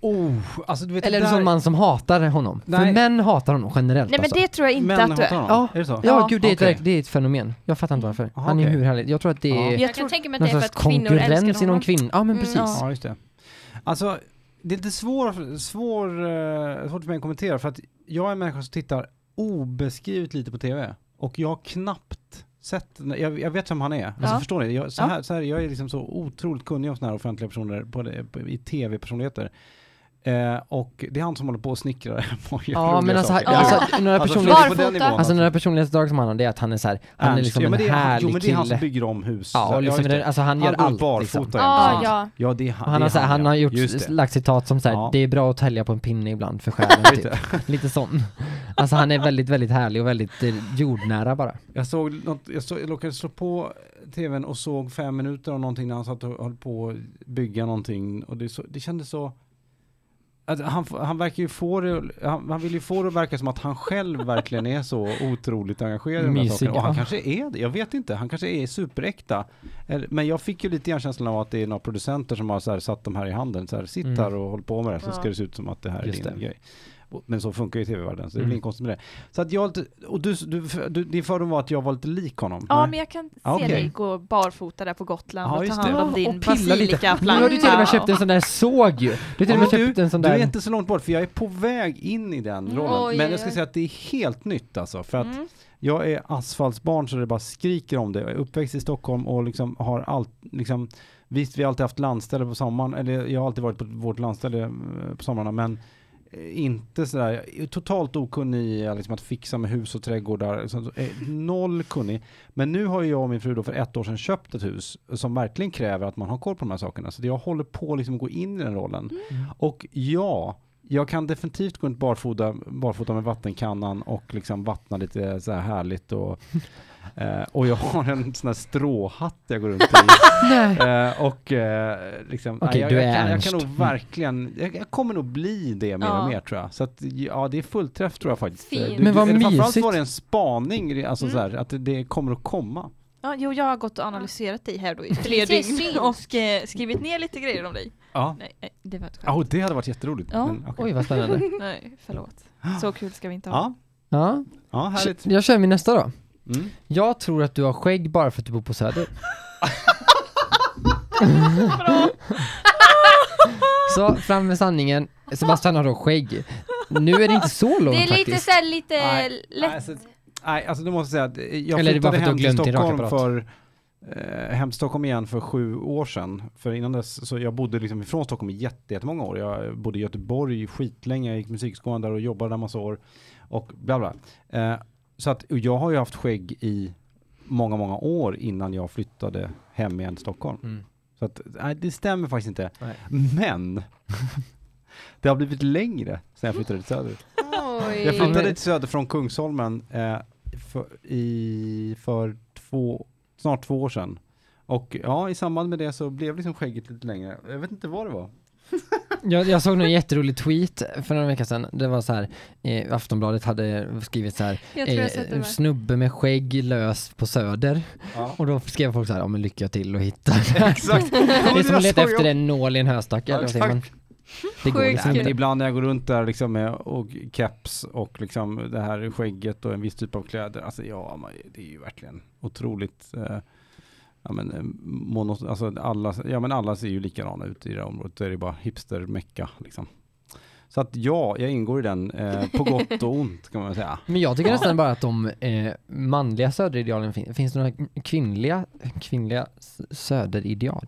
Oh, alltså du vet Eller är det du där... sån man som hatar honom? För Nej. män hatar honom generellt Nej men alltså. det tror jag inte Män att du hatar är. honom? Ja. Är det så? Ja, gud det är, ett, Okej. Mm. verk- det är ett fenomen. Jag fattar inte varför. Aha, Han är ju okej. hur härlig. Jag tror att det Ja. är Jag, Jag kan tror- tänka mig någon att det är för slags att kvinnor älskar konkurrens honom. inom kvinnor. Ja men Mm, precis. Ja, just det. Alltså, det är lite svår, svår, eh, svårt för mig att kommentera för att jag är en människa som tittar obeskrivet lite på tv och jag har knappt sett, jag, jag vet vem han är, alltså Ja. förstår ni? Jag, så Ja. här, så här, jag är liksom så otroligt kunnig om sådana här offentliga personer på, det- på, i tv-personligheter. Eh, och det är han som håller på och snickrar hemma och gör Ja roliga men alltså, saker. han- alltså några Alltså, personlighets... på den nivån, Alltså några personlighetsdrag som han har det är att han är så här, han är Ernst, liksom ja, men en det är han- Jo härlig men det är han som kille. bygger om hus. Ja och just liksom, det. alltså han gör går allt barfota liksom. ja, Ja, precis. ja. Ja det är han. Och Han har, det är så här, han har gjort, Just det. lagt citat som såhär, Ja. det är bra att tälja på en pinne ibland för själen typ. Lite sån. Alltså han är väldigt, väldigt härlig och väldigt eh, jordnära bara. Jag såg något, jag, såg, jag råkade slå på tvn och såg fem minuter av någonting när han satt och höll på att bygga någonting och det, så, det kändes så att han, f- han verkar ju få det, han, han vill ju få det att verka som att han själv verkligen är så otroligt engagerad i de här Mysig, sakerna. Och han ja. kanske är det, jag vet inte. Han kanske är superäkta. Eller- Men jag fick ju lite grann känslan av att det är några producenter som har så här satt de här i handen. Så här, sitt Mm. här och håll på med det här, så Ja. ska det se ut som att det här är Just din det. grej. Och- Men så funkar ju tv-världen, så det är väl Mm. inget konstigt med det. Så att jag, har lite- och du, du, du, din fördom var att jag var lite lik honom? Ja Nej. men jag kan se Ja, okej. dig gå barfota där på Gotland Ja, och ta just hand det. om din Och pilla lite. Nu har du till och basilikaplanka med köpt en sån där såg ju. Du har till och med Ja, men köpt en sån Du där. är inte så långt bort, för jag är på väg in i den Mm. rollen. Oj, men jag ska oj. säga att det är helt nytt alltså, för att Mm. jag är asfaltsbarn så det bara skriker om det. Jag är uppväxt i Stockholm och liksom har allt, liksom, visst vi har alltid haft landställe på sommaren, eller jag har alltid varit på vårt landställe eh, på somrarna, men inte sådär, jag är totalt okunnig i liksom, att fixa med hus och trädgårdar. Liksom, så, eh, noll kunnig. Men nu har ju jag och min fru då för ett år sedan köpt ett hus som verkligen kräver att man har koll på de här sakerna. Så jag håller på liksom att gå in i den rollen. Och ja, jag kan definitivt gå runt barfota, barfota med vattenkannan och liksom vattna lite så här härligt och eh, och jag har en sån här stråhatt jag går runt i. Eh, och eh, liksom, Okej, jag, du jag, är kan, jag Ernst. kan nog Mm. verkligen, jag, jag kommer nog bli det mer Ja. och mer tror jag. Så att, ja, det är fullträff tror jag faktiskt. Fint. Eh, Men vad eller Framförallt mysigt. var det en spaning, alltså Mm. så här, att det, det kommer att komma. Ja, jo, jag har gått och analyserat dig här då i tre dygn Precis, syns. och eh, skrivit ner lite grejer om dig. Ja. Nej, nej, det var ett skämt. Oh, det hade varit jätteroligt. Ja. Men, okej. Oj, vad spännande. Nej, förlåt. Så kul ska vi inte ha. ja. Ja, ja, härligt. jag kör min nästa då. Mm. Jag tror att du har skägg bara för att du bor på Söder. så fram med sanningen, Sebastian har då skägg. Nu är det inte så långt Det är lite faktiskt. såhär lite Nej, lätt. nej, alltså, nej, alltså du måste jag säga att eh, jag Eller är det bara flyttade för att du hem har till glömt Stockholm din rakapparat? för eh, hem till Stockholm igen för sju år sedan. För innan dess, så jag bodde liksom ifrån Stockholm i jätte- jättemånga år. Jag bodde i Göteborg skitlänge, jag gick musikskolan där och jobbade där massa år. Och bla bla. Eh, så att och jag har ju haft skägg i många, många år innan jag flyttade hem igen till Stockholm. Mm. Så att, nej, det stämmer faktiskt inte. Nej. Men det har blivit längre sen jag flyttade till Söder. Oj. Jag flyttade men- till Söder från Kungsholmen eh, för, i, för två, snart två år sedan. Och ja, i samband med det så blev liksom skägget lite längre. Jag vet inte vad det var. Jag, jag såg en jätterolig tweet för några veckor sedan. Det var så här, eh, Aftonbladet hade skrivit så här, Jag tror jag sett det eh, där. snubbe med skägg lös på Söder. Ja. Och då skrev folk så här, ja men lycka till och hitta. Exakt. Ja, men Det är som jag att leta såg efter ju- en nål i en höstack. Ja, eller vad säger man? exakt. Det går Sjukt liksom Nej, men inte. ibland när jag går runt där liksom med och keps och liksom det här skägget och en viss typ av kläder. Alltså ja, man, det är ju verkligen otroligt. Eh, ja, men, eh, mono, alltså, alla, ja men alla ser ju likadana ut i det här området. Det är ju bara hipster-mecka liksom. Så att ja, jag ingår i den eh, på gott och ont kan man väl säga. Men jag tycker nästan bara att de eh, manliga söderidealen finns. Finns det några kvinnliga, kvinnliga s- söderideal?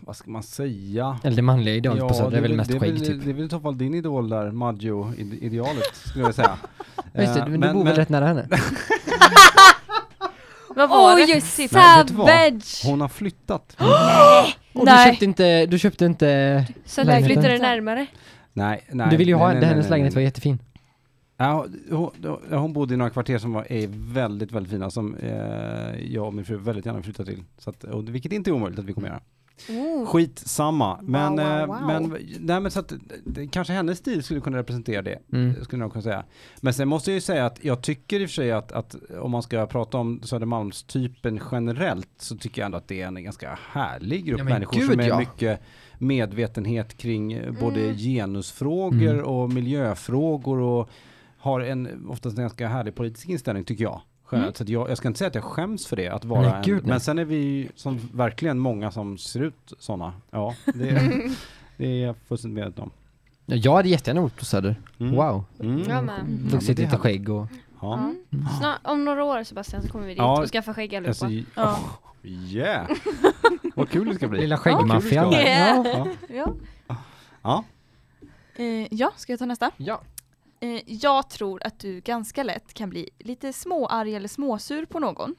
Vad ska man säga? Eller det manliga idealet på söder är väl mest det skägg väl, typ. Det är väl i så fall din idol där, Maggio-idealet skulle jag säga. Ja, Just det, Eh, men, du bor väl rätt nära henne? Vad var det? Oj, Nej, vet du vad? savage! Hon har flyttat. Och Nej. du köpte inte, du köpte inte, Så att jag Lägenheten. flyttade närmare. Mm. Nej, nej. du ville ju nej, ha, nej, det, nej, hennes nej, nej. lägenhet var jättefin. Ja, hon, hon- hon bodde i några kvarter som var, är väldigt, väldigt fina som eh, jag och min fru väldigt gärna vill flytta till. Så att, och, vilket inte är omöjligt att vi kommer göra. Oh. Skitsamma. Men, wow, eh, wow. men, nej, men så att, det, kanske hennes stil skulle kunna representera det. Mm. Skulle jag kunna säga. Men sen måste jag ju säga att jag tycker i och för sig att, att om man ska prata om Södermalmstypen generellt så tycker jag ändå att det är en ganska härlig grupp Ja, men människor gud, som är ja. mycket medvetenhet kring eh, både Mm. genusfrågor Mm. och miljöfrågor och har en oftast en ganska härlig politisk inställning tycker jag. generellt. Så att jag, jag ska inte säga att jag skäms för det, att vara Mm. Nej, en, gud, nej. men sen är vi ju som verkligen många som ser ut sådana. Ja, det, det är jag fullständigt medveten om. Ja, Jag hade jättegärna bott på söder. Mm. Wow. Mm. Jag med. men Vuxit det lite hade- skägg och... Ja. Mm. Snart, om några år Sebastian så kommer vi dit Ja, och skaffa skägg allihopa. Alltså, Ja. oh, yeah! Vad kul det ska bli. Lilla Ja, skäggmaffian. kul det ska där. vara. Ja. Ja. Ja. Ja. Eh, ja, ska jag ta nästa? Ja. Eh, jag tror att du ganska lätt kan bli lite småarg eller småsur på någon.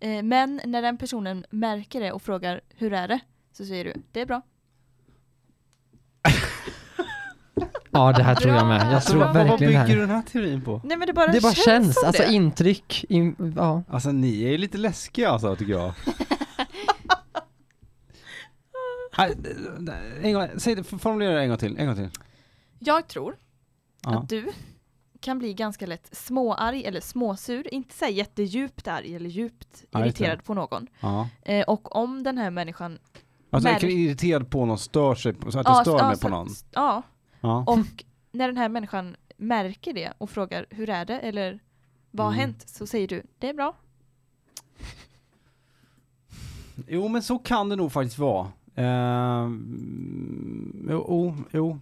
Eh, men när den personen märker det och frågar hur är det? Så säger du det är bra. ja, det här tror jag med. Jag Så tror vad- vad verkligen det här. den här teorin på? Nej men det bara Det bara känns, känns, som alltså det. intryck. In, ja. Alltså ni är ju lite läskiga alltså tycker jag. Nej, Äh, en gång, säg det, formulera det en gång till, en gång till. Jag tror Ja. att du kan bli ganska lätt småarg eller småsur. Inte så här jättedjupt arg eller djupt Ja, just det. irriterad på någon. ja. Eh, och om den här människan... Alltså jag Märk- kan bli irriterad på någon, stör sig, på- så att Ja, jag stör ja, mig så- på någon. Ja, Ja. och när den här människan märker det och frågar hur är det eller vad har Mm. hänt? Så säger du det är bra. Jo men så kan det nog faktiskt vara. Ehm, jo, jo, jo.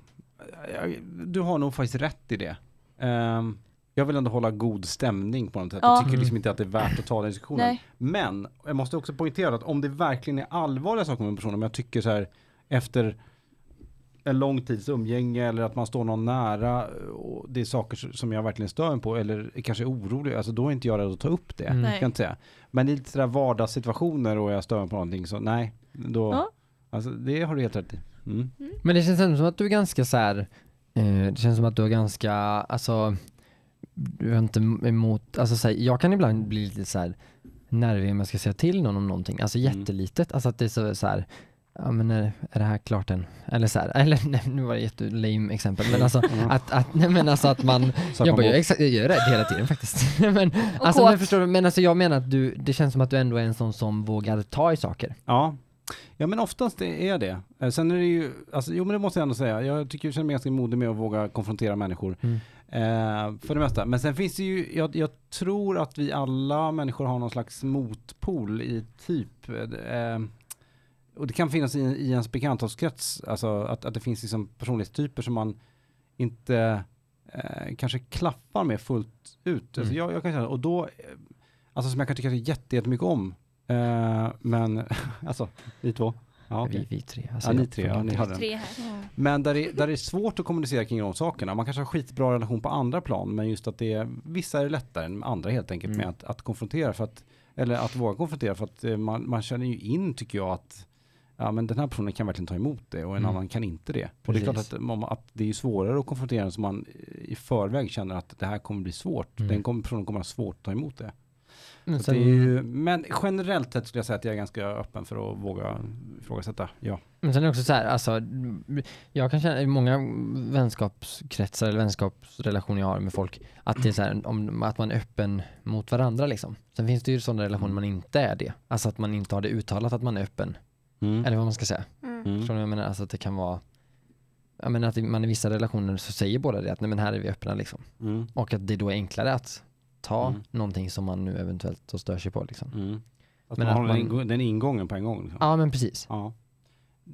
Jag- Du har nog faktiskt rätt i det. Ehm, jag vill ändå hålla god stämning på något sätt. Ja. Jag tycker liksom Mm. inte att det är värt att ta den diskussionen. Nej. Men jag måste också poängtera att om det verkligen är allvarliga saker med personen, om jag tycker så här efter en lång tids umgänge eller att man står någon nära och det är saker s- som jag verkligen stör mig på eller är kanske är orolig, alltså då är inte jag rädd att ta upp det. Mm. Nej. Kan jag inte säga. Men i lite sådär vardagssituationer och jag stör mig på någonting så nej, då, Ja. alltså det har du helt rätt i. Mm. Men det känns ändå som att du är ganska så här. Eh, det känns som att du är ganska, alltså, du är inte emot, alltså så här, jag kan ibland bli lite så här nervig om jag ska säga till någon om någonting, alltså Mm. jättelitet, alltså att det är så, så här, ja men är, är det här klart än? Eller så här, eller nej, nu var det ett jättelame exempel, men alltså Mm. att, att, nej men alltså att man, Så att jag, man bara, jag, mår- är exakt, jag gör det hela tiden faktiskt. men, alltså, kåt. men, förstår du, men alltså jag menar att du, det känns som att du ändå är en sån som vågar ta i saker. Ja. ja, men oftast är jag det. Eh, Sen är det ju, alltså, jo men det måste jag ändå säga, jag tycker jag känner mig ganska modig med att våga konfrontera människor. Mm. Eh, för det mesta. Men sen finns det ju, jag, jag tror att vi alla människor har någon slags motpol i typ, eh, och det kan finnas i, i ens bekantskapskrets, alltså att, att det finns liksom personlighetstyper som man inte eh, kanske klaffar med fullt ut. Alltså Mm. jag, jag kan känna, och då, eh, alltså som jag kan tycka jätte, jättemycket om, eh, men alltså, ni två. Ja, okej. vi, vi tre. Alltså, Ja, ni jag tre, funkar ja, ni inte. har den. Tre här. Men där det, där det är svårt att kommunicera kring de sakerna. Man kanske har skitbra relation på andra plan, men just att det är, vissa är det lättare än andra helt enkelt Mm. med att, att konfrontera för att, eller att våga konfrontera för att eh, man, man känner ju in, tycker jag, att ja, men den här personen kan verkligen ta emot det och en Mm. annan kan inte det. Och det är klart Precis. att, man- att det är ju svårare att konfrontera så man eh, i förväg känner att det här kommer bli svårt. Mm. Den kommer, personen kommer ha svårt att ta emot det. Men Så att det sen- är ju, men generellt sett skulle jag säga att jag är ganska öppen för att våga ifrågasätta. Ja. Men sen är det också så här, alltså, jag kan känna i många vänskapskretsar eller vänskapsrelationer jag har med folk, att det är så här, om, att man är öppen mot varandra liksom. Sen finns det ju sådana relationer man inte är det. Alltså att man inte har det uttalat att man är öppen. Eller vad man ska säga. Mm. Mm. Förstår ni vad jag menar? Alltså att det kan vara, jag menar att man i vissa relationer så säger båda det att nej men här är vi öppna liksom. Mm. Och att det då är enklare att ta Mm. någonting någonting som man nu eventuellt då stör sig på liksom. Att Men man har att den, man- ingå- den ingången på en gång. Liksom. Ja men precis. Ja.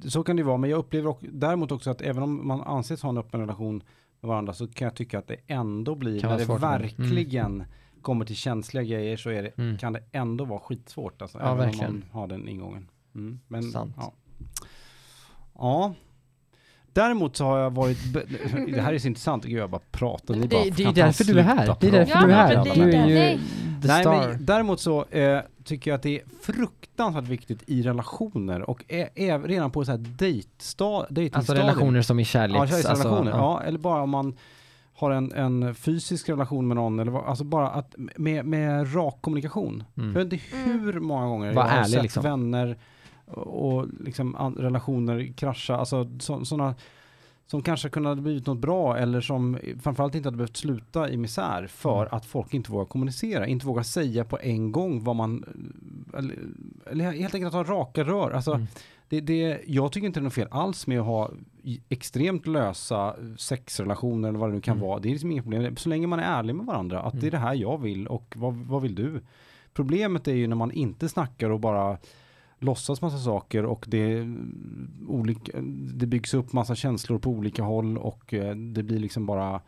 Så kan det ju vara, men jag upplever och, däremot också att även om man anses ha en öppen relation med varandra så kan jag tycka att det ändå blir, Kan när vara mm. det svårt, men- verkligen kommer till känsliga grejer så är det, Mm. kan det ändå vara skitsvårt. Alltså, Ja, även verkligen. om man har den ingången. Mm. Men, Sant. Ja. ja. Däremot så har jag varit, be- det här är så intressant, Gud, jag bara pratar. Ni Det, bara, det är kan ju därför fan du är här. sluta Det är därför prata Ja, du med är alla här. men det är människor. Du är ju Nej. the Nej, star. men däremot så eh, tycker jag att det är fruktansvärt viktigt i relationer och ä- ä- redan på så här dejtsta- dejtingstadiet. Alltså relationer som i Ja, kärleks... alltså, kärleksrelationer. ja. ja, eller bara om man har en, en fysisk relation med någon, eller vad, alltså bara att med, med rak kommunikation. Mm. Jag vet inte Mm. hur många gånger Var jag har ärlig, sett liksom. vänner och och liksom an- relationer krascha, alltså sådana som kanske kunde ha blivit något bra eller som framförallt inte hade behövt sluta i misär för Mm. att folk inte vågar kommunicera, inte vågar säga på en gång vad man, eller, eller helt enkelt att ha raka rör. Alltså, Mm. det, det, jag tycker inte det är något fel alls med att ha i- extremt lösa eh, sexrelationer eller vad det nu kan Mm. vara. Det är liksom inga problem, så länge man är ärlig med varandra, att det är Mm. det här jag vill och vad, vad vill du? Problemet är ju när man inte snackar och bara låtsas massa saker och det, är olika, det byggs upp massa känslor på olika håll och eh, det blir liksom bara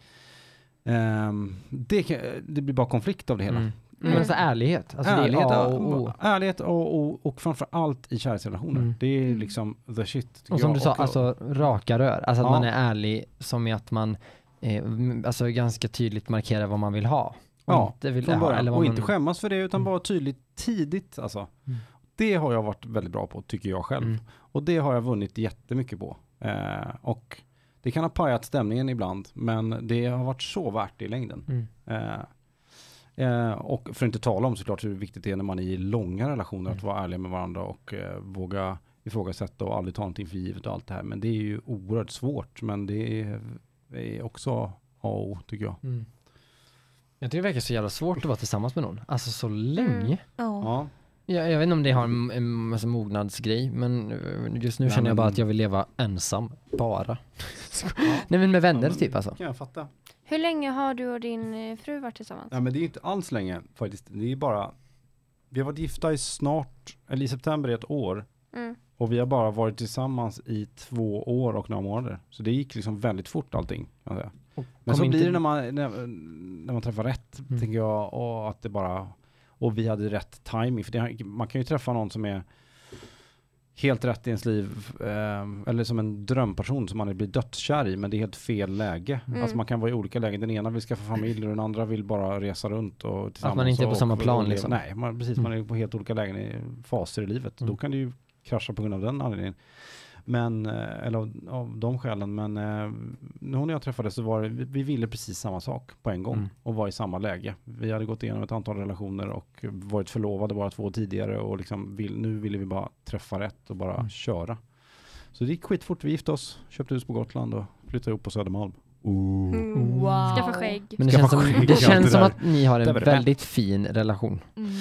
ehm, det, kan, det blir bara konflikt av det hela. Mm. Men alltså ärlighet. Alltså ärlighet, det är A och O. ärlighet och, och, och framför allt i kärleksrelationer. Mm. Det är Mm. liksom the shit. tycker Och som jag. du sa, alltså raka rör. Alltså att Ja. man är ärlig som i att man eh, m- alltså ganska tydligt markerar vad man vill ha. Och Ja, inte vill från ha, början. eller vad och man, inte skämmas för det utan Mm. vara tydligt tidigt alltså. Mm. Det har jag varit väldigt bra på tycker jag själv. Mm. Och det har jag vunnit jättemycket på. Eh, och det kan ha pajat stämningen ibland men det har varit så värt det i längden. Mm. Eh, eh, och för att inte tala om såklart hur viktigt det är när man är i långa relationer att Mm. vara ärlig med varandra och eh, våga ifrågasätta och aldrig ta någonting för givet och allt det här. Men det är ju oerhört svårt men det är, är också A och O tycker jag. Mm. Jag tycker det verkar så jävla svårt att vara tillsammans med någon. Alltså så länge. Mm. Ja. Ja. Jag, jag vet inte om det har en, en alltså, mognadsgrej, men eh, just nu Nej, känner jag bara men- att jag vill leva ensam. Bara. Nej men med vänner Ja, men- typ alltså. kan jag fatta. Hur länge har du och din eh, fru varit tillsammans? Nej men det är inte alls länge faktiskt. Det är bara, vi har varit gifta i snart, eller i september i ett år. Mm. Och vi har bara varit tillsammans i två år och några månader. Så det gick liksom väldigt fort allting. Kan jag säga. Men Kom så inte- blir det när man, när, när man träffar rätt, Mm. tänker jag, och att det bara, och vi hade rätt timing. För det, man kan ju träffa någon som är helt rätt i ens liv, eh, eller som en drömperson som man blir dödskär i, men det är helt fel läge. Mm. Alltså man kan vara i olika lägen. Den ena vill skaffa familj och den andra vill bara resa runt och tillsammans. inte är på och- samma och- plan, och leva. liksom. Nej, man, precis. Man är på helt olika lägen i faser i livet. Mm. Då kan det ju krascha på grund av den anledningen. Men, eh, eller av, av de skälen, men eh, nu när jag träffade så var det, vi, vi ville precis samma sak på en gång Mm. och var i samma läge. Vi hade gått igenom ett antal relationer och varit förlovade bara två tidigare och liksom vill, nu ville vi bara träffa rätt och bara Mm. köra. Så det gick skitfort, vi gifte oss, köpte hus på Gotland och flyttade ihop på Södermalm. Mm. Wow. Skaffa skägg. Men det Ska känns, man som, skicka det allt det känns som där? att ni har Det en var det. väldigt fin relation. Mm.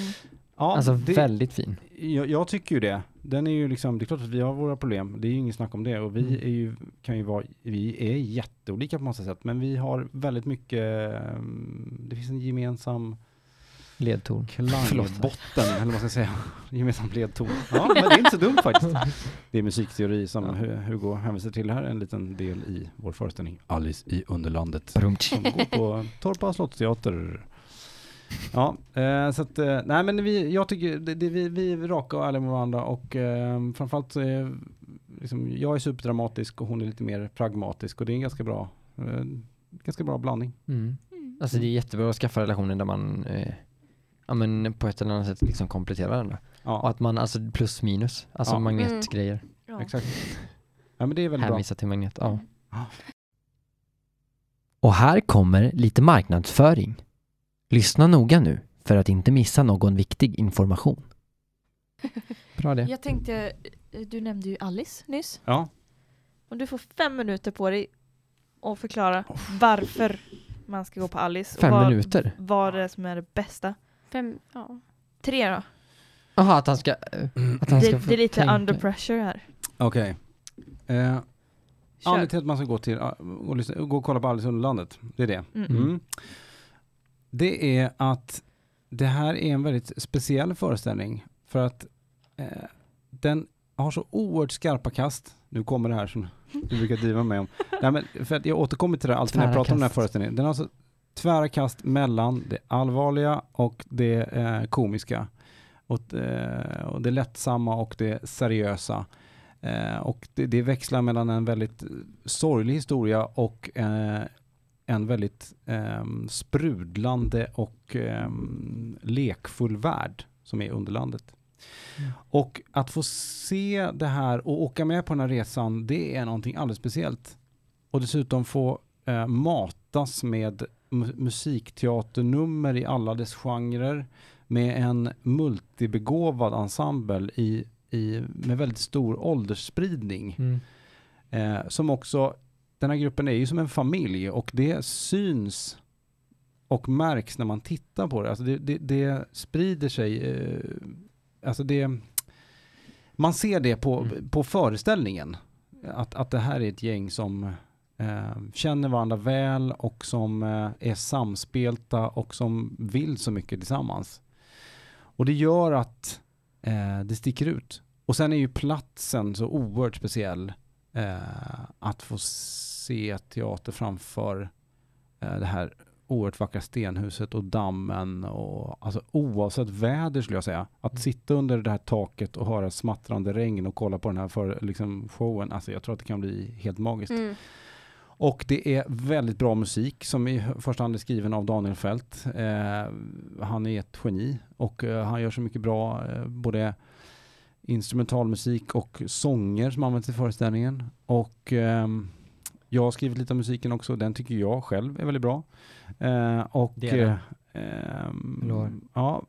Ja, Alltså det- väldigt fin. Jag, jag tycker ju det. Den är ju liksom, det är klart att vi har våra problem, det är ju inget snack om det. Och vi Mm. är ju, kan ju vara, vi är jätteolika på massa sätt, men vi har väldigt mycket, ehm, det finns en gemensam Ledtorn. liksom. Förlåt. klangbotten, eller vad man ska säga, gemensam ledton. Ja, men det är inte så dumt faktiskt. Det är musikteori som Ja. Hu- Hugo hänvisar till här, en liten del i vår föreställning Alice i Underlandet Brumtsch. som går på Torpa slottsteater. Ja, eh, så att, eh, nej men vi, jag tycker, det, det, vi, vi är raka och ärliga med varandra och eh, framförallt så är, liksom, jag är superdramatisk och hon är lite mer pragmatisk och det är en ganska bra, eh, ganska bra blandning. Mm. Alltså det är jättebra att skaffa relationer där man eh, ja, men på ett eller annat sätt liksom kompletterar varandra. Och Ja, att man, alltså plus minus, alltså Ja. magnetgrejer. Ja. exakt. Ja men det är väldigt bra. Hänvisa till magnet, ja. Mm. Ja. Och här kommer lite marknadsföring. Lyssna noga nu för att inte missa någon viktig information. Bra det. Jag tänkte, eh, du nämnde ju Alice nyss. Ja, Och du får fem minuter på dig att förklara varför man ska gå på Alice. och Fem vad, minuter? Vad det är som är det bästa. Fem, ja. Tre då. Jaha, att han ska... eh, Att han ska Det, få det är lite tänka. under pressure här. okej. Eh, Kör. Anledningen till att man ska gå, till, ah, och lyssna, gå och kolla på Alice i Underlandet, det är det. Mm. Mm. Mm. Det är att det här är en väldigt speciell föreställning för att eh, den har så oerhört skarpa kast. Nu kommer det här som du brukar driva med om. Nej, men för att jag återkommer till det alltid när jag Tvära pratar om den här kast. föreställningen. Den har så tvära kast mellan det allvarliga och det eh, komiska. Och, eh, och det lättsamma och det seriösa. Eh, och det, det växlar mellan en väldigt eh, sorglig historia och eh, en väldigt ehm, sprudlande och ehm, lekfull värld som är Underlandet. Mm. Och att få se det här och åka med på den här resan, det är någonting alldeles speciellt. Och dessutom få eh, matas med mu- musikteaternummer i alla dess genrer med en multibegåvad ensemble i, i, med väldigt stor åldersspridning. Mm. Eh, som också, den här gruppen är ju som en familj och det syns och märks när man tittar på det. Alltså det, det, det sprider sig, eh, alltså det, man ser det på, Mm. på föreställningen. Att, att det här är ett gäng som eh, känner varandra väl och som eh, är samspelta och som vill så mycket tillsammans. Och det gör att eh, det sticker ut. Och sen är ju platsen så oerhört speciell. Eh, att få se teater framför eh, det här oerhört vackra stenhuset och dammen och alltså oavsett väder skulle jag säga. Att sitta under det här taket och höra smattrande regn och kolla på den här för, liksom, showen, alltså jag tror att det kan bli helt magiskt. Mm. Och det är väldigt bra musik som i första hand är skriven av Daniel Fält. Eh, han är ett geni och eh, han gör så mycket bra eh, både instrumentalmusik och sånger som används i föreställningen. Och ehm, jag har skrivit lite av musiken också, den tycker jag själv är väldigt bra. Eh, och Det är den. eh, ehm, Lovar. ja,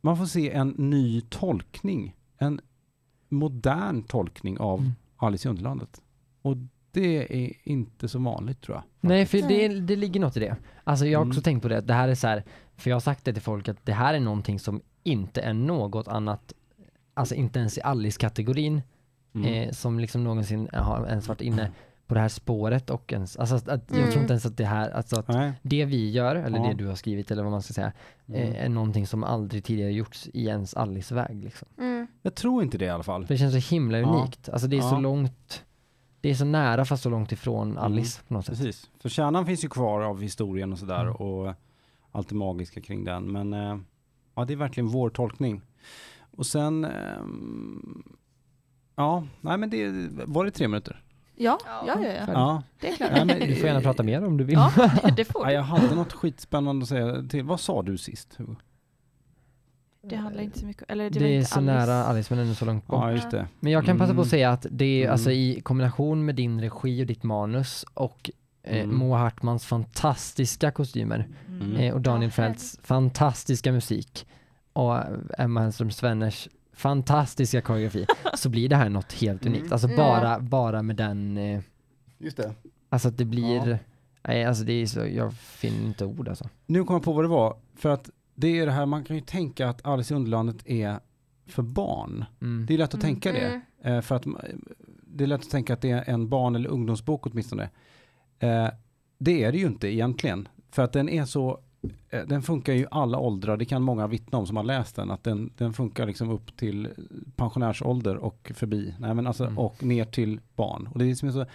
man får se en ny tolkning, en modern tolkning av Mm. Alice i Underlandet. Och det är inte så vanligt tror jag. Nej, för det, det ligger något i det. Alltså jag har också Mm. tänkt på det, att det här är så här, för jag har sagt det till folk att det här är någonting som inte är något annat, alltså inte ens i Alice-kategorin, Mm. eh, som liksom någonsin har ens varit inne på det här spåret och ens, alltså att, att jag Mm. tror inte ens att det här, alltså att Nej. det vi gör, eller Ja. det du har skrivit eller vad man ska säga, Mm. eh, är någonting som aldrig tidigare gjorts i ens Alice-väg liksom. Mm. Jag tror inte det i alla fall. För det känns så himla Ja. unikt, alltså det är så Ja. Mm. långt, det är så nära fast så långt ifrån Alice på något sätt. Precis. För kärnan finns ju kvar av historien och sådär Mm. och allt det magiska kring den. Men eh, ja, det är verkligen vår tolkning. Och sen ehm, Ja, nej men det, var det tre minuter? Ja, Ja. ja, ja, ja. Ja. det är klart. Nej, men- Du får gärna prata mer om du vill. Ja, det får ja, du. jag hade något skitspännande att säga till. Vad sa du sist? Hugo? Det handlar inte så mycket Eller det, var Det är inte så Alice. nära Alice men ändå så långt bort. Ja, just det. Men jag kan passa på Mm. att säga att det är Mm. alltså i kombination med din regi och ditt manus och eh, Mm. Moa Hartmans fantastiska kostymer Mm. eh, och Daniel Ja, Fälts fantastiska musik och Emma Hellström Svenners fantastiska koreografi så blir det här något helt Mm. unikt. Alltså Ja. bara, bara med den, eh, Just det. alltså att det blir, nej alltså det är så, jag finner inte ord alltså. Nu kom jag på vad det var. För att det är det här, man kan ju tänka att Alice i Underlandet är för barn. Mm. Det är lätt att Mm. tänka det. Mm. Eh, för att ma- det är lätt att tänka att det är en barn eller ungdomsbok åtminstone. Eh, det är det ju inte egentligen. För att den är så, eh, den funkar ju i alla åldrar. Det kan många vittna om som har läst den. Att den, den funkar liksom upp till pensionärsålder och förbi. Nej, men alltså, Mm. Och ner till barn. Och det är liksom så,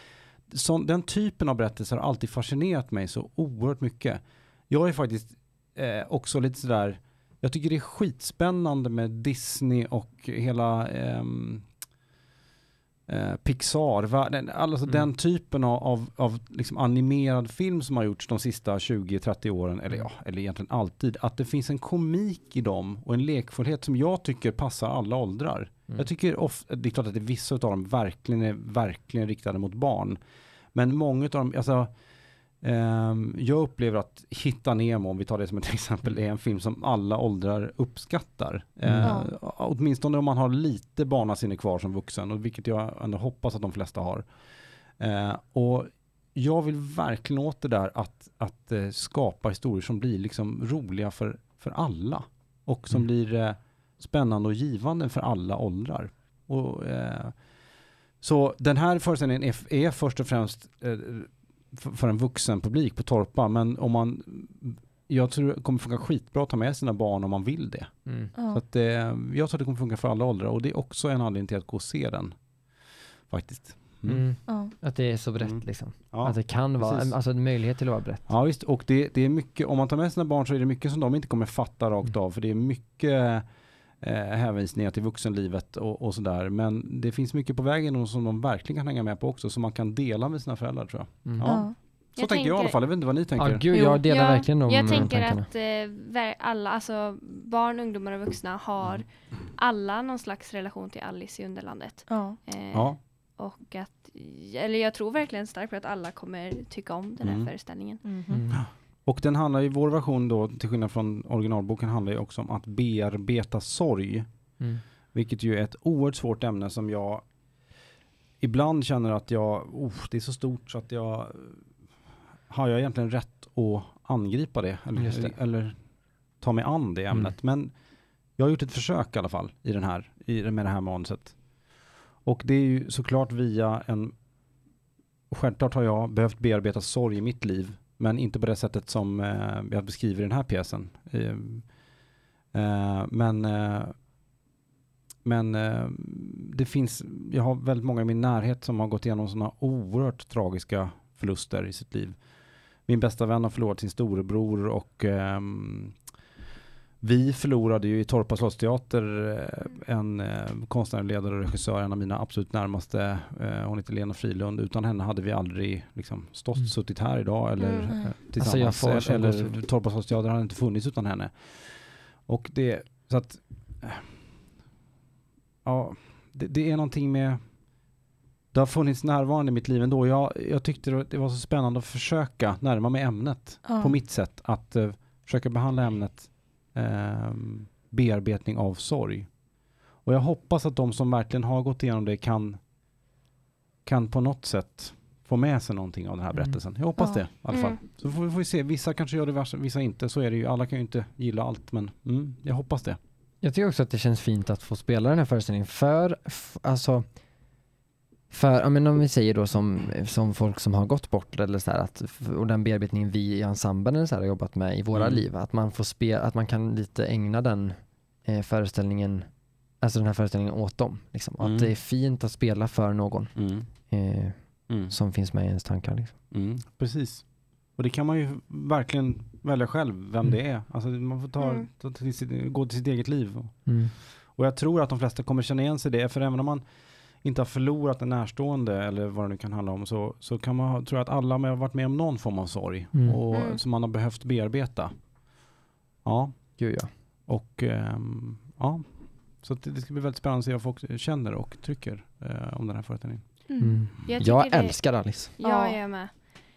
så, den typen av berättelser har alltid fascinerat mig så oerhört mycket. Jag är faktiskt eh, också lite sådär, jag tycker det är skitspännande med Disney och hela ehm, eh, Pixar, va- den- alltså Mm. den typen av, av, av liksom animerad film som har gjorts de sista 20-30 åren, eller ja, eller egentligen alltid, att det finns en komik i dem och en lekfullhet som jag tycker passar alla åldrar. Mm. Jag tycker ofta, det är klart att det är vissa av dem verkligen är verkligen riktade mot barn, men många av dem, alltså ehm, jag upplever att Hitta Nemo, om vi tar det som ett exempel, är en film som alla åldrar uppskattar. Mm. Eh, Åtminstone om man har lite barnasinne kvar som vuxen, och vilket jag ändå hoppas att de flesta har. Eh, och jag vill verkligen åt det där att, att eh, skapa historier som blir liksom roliga för, för alla. Och som Mm. blir eh, spännande och givande för alla åldrar. Och, eh, så den här föreställningen är, f- är först och främst eh, f- för en vuxen publik på Torpa, men om man, jag tror det kommer funka skitbra att ta med sina barn om man vill det. Mm. Ja. Så att, eh, jag tror att det kommer funka för alla åldrar och det är också en anledning till att gå och se den. Faktiskt. Mm. Mm. Ja. Att det är så brett Mm. liksom. Ja. Att det kan vara, precis. alltså en möjlighet till att vara brett. ja visst, och det, det är mycket, om man tar med sina barn så är det mycket som de inte kommer fatta rakt Mm. av, för det är mycket eh, hänvisningar till vuxenlivet och, och sådär. Men det finns mycket på vägen och som de verkligen kan hänga med på också, som man kan dela med sina föräldrar tror jag. Mm. Ja. Så Jag tänker jag i alla tänker- fall, jag vet inte vad ni Ja, tänker. gud, Jo, jag delar Ja, verkligen de Jag tänker tankarna. att eh, ver- alla, alltså barn, ungdomar och vuxna har alla någon slags relation till Alice i Underlandet. Ja. Eh, Ja, Och att, eller jag tror verkligen starkt på att alla kommer tycka om den här Mm. föreställningen. Mhm. Mm. och den handlar ju, vår version då, till skillnad från originalboken, handlar ju också om att bearbeta sorg. Mm. Vilket ju är ett oerhört svårt ämne som jag ibland känner att jag, oh, det är så stort så att jag, har jag egentligen rätt att angripa det? Eller, Just det. Mm. eller ta mig an det ämnet? Men jag har gjort ett försök i alla fall i den här, i, det- med det här manuset. Och det är ju såklart via en, självklart har jag behövt bearbeta sorg i mitt liv, men inte på det sättet som eh, jag beskriver i den här pjäsen. Ehm, eh, men eh, men eh, det finns, jag har väldigt många i min närhet som har gått igenom sådana oerhört tragiska förluster i sitt liv. Min bästa vän har förlorat sin storebror och ehm, vi förlorade ju i Torpa slottsteater eh, en eh, konstnärlig ledare och regissör, en av mina absolut närmaste, eh, hon heter Lena Frilund. Utan henne hade vi aldrig liksom, stått, Mm. suttit här idag eller Mm. eh, Nej. Alltså, jag tillsammans. får sån eller eller gåshud. Torpa slottsteater hade inte funnits utan henne. Och det, så att eh, ja, det, det är någonting med det har funnits närvarande i mitt liv ändå. Jag, jag tyckte det- det var så spännande att försöka närma mig ämnet Ja. på mitt sätt. Att eh, försöka behandla ämnet ehm, bearbetning av sorg. Och jag hoppas att de som verkligen har gått igenom det kan, kan på något sätt få med sig någonting av den här Mm. berättelsen. Jag hoppas Ja. det i alla fall. Mm. Så får vi, får vi se. Vissa kanske gör det, värsta, vissa inte. Så är det ju. Alla kan ju inte gilla allt, men mm, jag hoppas det. Jag tycker också att det känns fint att få spela den här föreställningen för, f- alltså, för, ja men om vi säger då som, som folk som har gått bort eller så här att, f- och den bearbetningen vi i ensemblen eller så här har jobbat med i våra Mm. liv, att man får spela, att man kan lite ägna den eh, föreställningen, alltså den här föreställningen åt dem. Liksom. Och Mm. Att det är fint att spela för någon eh, som finns med i ens tankar. Liksom. Mm, precis. Och det kan man ju verkligen välja själv vem Mm. det är. Alltså man får ta, Mm. ta Mm. till sitt, gå till sitt eget liv. Och jag tror att de flesta kommer känna igen sig i det, för även om man inte har förlorat en närstående eller vad det nu kan handla om så, så kan man, ha- tror jag att alla har varit med om någon form av sorg Mm. och, Mm. som man har behövt bearbeta. Ja, Gud ja. och ehm, ja. Så att det, det ska bli väldigt spännande att se vad folk känner och tycker eh, om den här föreställningen. Mm. Jag, Jag, tycker det- älskar Alice. Ja, Ja. jag är med.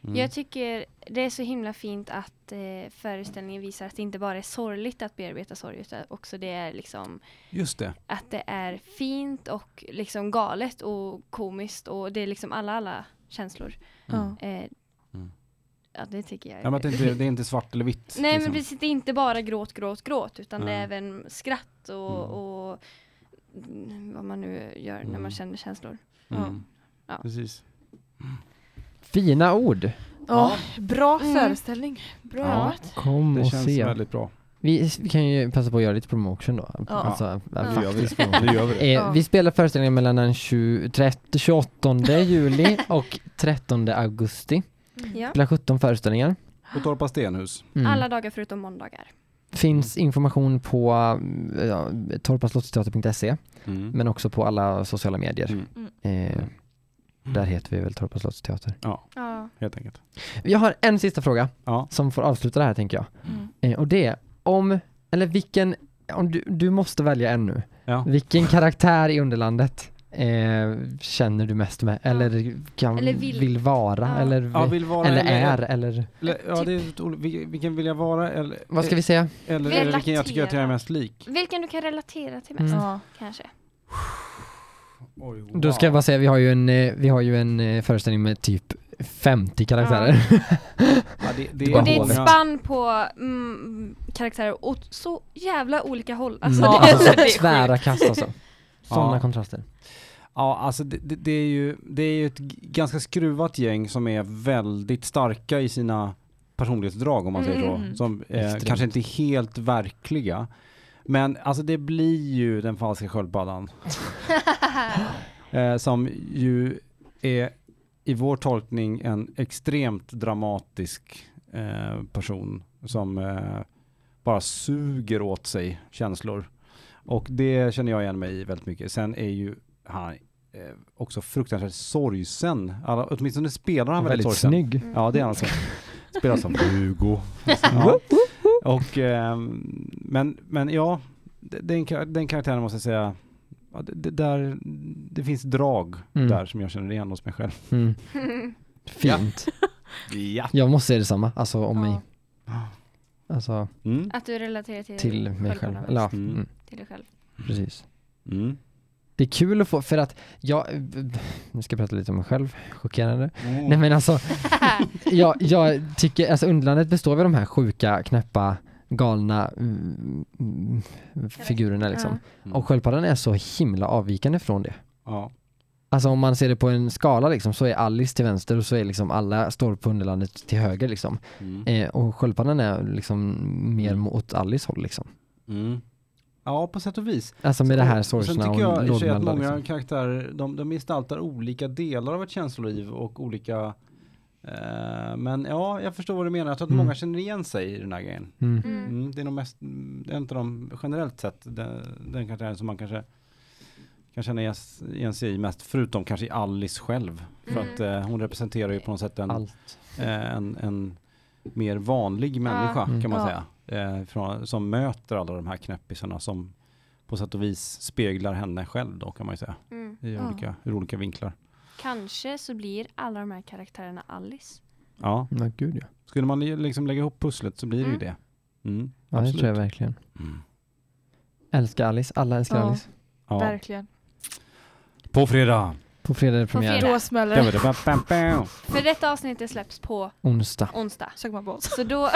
Mm. Jag tycker det är så himla fint att eh, föreställningen visar att det inte bara är sorgligt att bearbeta sorg utan också det är liksom Just det. att det är fint och liksom galet och komiskt och det är liksom alla alla känslor. Ja. Eh, Mm. Ja det tycker jag. är- Ja, men att det, inte, det är liksom- inte svart eller vitt. Nej liksom. men precis, det är inte bara gråt, gråt, gråt utan det är Nej. även skratt och, Mm. och mm, vad man nu gör när Mm. man känner känslor. Mm. Ja. Precis. Fina ord. Ja, bra Mm. föreställning. Bra Ja. jobbat. Kom Det och känns se. väldigt bra. Vi, vi kan ju passa på att göra lite promotion då. Ja. Alltså, Ja. faktiskt promotion. Nu gör vi det. Eh, Ja. Vi spelar föreställningen mellan den 20, 30, 28 juli och 13 augusti. Ja. Spelar 17 föreställningar. På Torpa Stenhus. Mm. Alla dagar förutom måndagar. Finns information på eh, ja, torpaslotteater.se Mm. men också på alla sociala medier. Mm. Eh, där heter vi väl Torpa slottsteater. Ja. Mm. Helt enkelt. Jag har en sista fråga Ja. som får avsluta det här tänker jag. Mm. Eh, och det är om, eller vilken, om du, du måste välja en nu. Ja. Vilken karaktär i Underlandet eh, känner du mest med? Eller, kan, Eller vill- vill, vara? Ja. Eller, Ja, vill vara eller är? Eller, Eller, ja, det är, ett ol- vil- vilken vill jag vara eller, vad ska vi säga? eller, Relatera. eller vilken jag tycker att jag är mest lik? Vilken du kan relatera till Mm. mest Ja. kanske. Oj, wow. Då ska jag bara säga, vi har ju en, eh, vi har ju en eh, föreställning med typ 50 karaktärer. Ja, det, det, Det är var Och det är ett hålet. många- spann på mm, karaktärer åt så jävla olika håll. Alltså, Mm. det, Alltså, det är sjukt. tvära kast alltså. Sådana Ja. kontraster. Ja, alltså det, det, det är ju, det är ju ett g- ganska skruvat gäng som är väldigt starka i sina personlighetsdrag om man säger så. Mm. Som eh, Extremt. kanske inte är helt verkliga. Men alltså det blir ju den falska sköldpaddan. eh, som ju är i vår tolkning en extremt dramatisk eh, person som eh, bara suger åt sig känslor. Och det känner jag igen mig i väldigt mycket. Sen är ju han eh, också fruktansvärt sorgsen. Alla, åtminstone spelar han väldigt, Väldigt sorgsen. snygg. Mm. Ja, det är han också. Spelar som Hugo. Ja. Och, ehm, men, men ja, d- den, kar- den karaktären måste jag säga, ja, det, det, där, det finns drag Mm. där som jag känner igen hos mig själv. Mm. Mm. Fint. Ja. Jag måste säga detsamma, alltså om mig. Alltså Mm. Att du relaterar till, till mig själv. sköldpaddan. Eller, ja, Mm. mm, Till dig själv. precis. Mm. Det är kul att få, för att jag, nu ska jag prata lite om mig själv, Mm. chockerande. Nej men alltså, jag, jag tycker, alltså Underlandet består av de här sjuka, knäppa, galna mm, mm, figurerna liksom. Mm. Och sköldpaddan är så himla avvikande från det. Ja. Alltså om man ser det på en skala liksom, så är Alice till vänster och så är liksom alla står på Underlandet till höger liksom. Mm. Eh, och sköldpaddan är liksom mer Mm. mot Alice håll liksom. Mm. Ja, på sätt och vis. Alltså med det här Sen sorgsna tycker och jag i och för sig att lågmälda många liksom. karaktärer, de, de gestaltar olika delar av ett känsloliv och olika eh, men ja, jag förstår vad du menar. Jag tror att Mm. många känner igen sig i den här grejen. Mm. Mm. Mm, det är nog mest, mm, det är en av de generellt sett den, den karaktären som man kanske kan känna igen s- igen sig i mest, förutom kanske i Alice själv. För Mm. att eh, hon representerar ju på något sätt en, Allt. eh, en, en mer vanlig människa Mm. kan man Ja. säga. Eh, från, som möter alla de här knäppisarna som på sätt och vis speglar henne själv då kan man ju säga. Mm. I Ja. olika, ur olika vinklar. Kanske så blir alla de här karaktärerna Alice. Ja, Ja, gud ja. skulle man ju liksom lägga ihop pusslet så blir det ju det. Mm, Ja, det tror jag verkligen. Älskar Alice, alla älskar Ja. Alice. Ja. Alltså, Verkligen. På fredag! På fredag är det premiär, fredag. Då smäller det. Bam-bam-bam. För detta avsnittet släpps på onsdag. onsdag. Sög man på oss. Så då...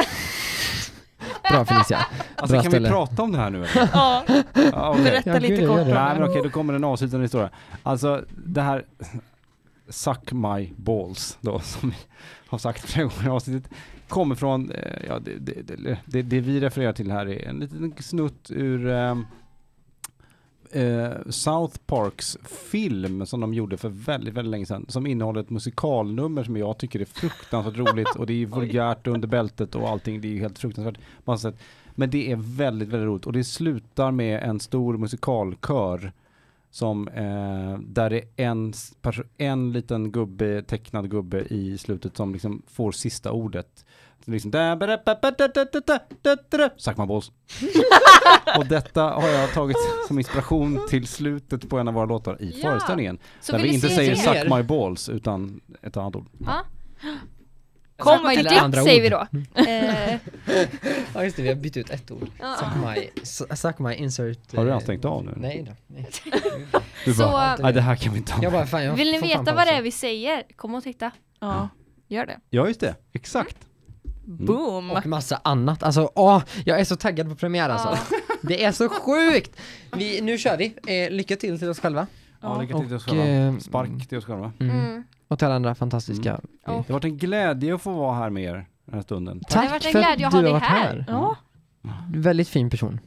Bra Felicia. Alltså Bra kan ställe. vi prata om det här nu eller? Ja, Ja, okej. berätta Ja, gud, lite jag kort gör om det. det Nej men här. okej, då kommer en avslutande historia. Alltså det här Suck my balls då, som vi har sagt flera gånger i avsnittet, kommer från, eh, ja det, det, det, det, det vi refererar till här är en liten snutt ur ehm, eh, South Parks film som de gjorde för väldigt, väldigt länge sedan, som innehåller ett musikalnummer som jag tycker är fruktansvärt roligt och det är vulgärt under bältet och allting, det är ju helt fruktansvärt på massa sätt. Men det är väldigt, väldigt roligt och det slutar med en stor musikalkör Som, eh, där det är en, s- perso- en liten gubbe, tecknad gubbe i slutet som liksom får sista ordet. Så Liksom, da- ba- da- ba- ba- da- da- da- da- da- da- da- Suck my balls. Och detta har jag tagit som inspiration till slutet på en av våra låtar i Ja. föreställningen. Så där vill vi inte se säger det? saker. suck my balls utan ett annat ord. Ja. Eller Kom och andra ditt ord. säger vi då. Eh, Ja just det, vi har bytt ut ett ord. ja. Suck my, su- suck my insert. Har du eh, redan stängt av nu? Nej då. Nej. Du Så- bara, nej det här kan vi inte Jag ha. bara, fan, jag Vill ni får fan veta vad det pausa. är vi säger? Kom och titta. Ja, gör det. Ja just det, exakt. Mm. Boom! Och massa annat. Alltså, åh, jag är så taggad på premiär alltså. Det är så sjukt! Vi, nu kör vi. Eh, lycka till till oss själva. Ja, lycka till till oss Och, eh, själva. Spark till oss själva. Mm. Mm. Och till alla andra fantastiska. Mm. Och- Det har varit en glädje att få vara här med er den här stunden. Det har Tack varit en för att du glädje att ha har dig varit här. här. Ja, Väldigt fin person.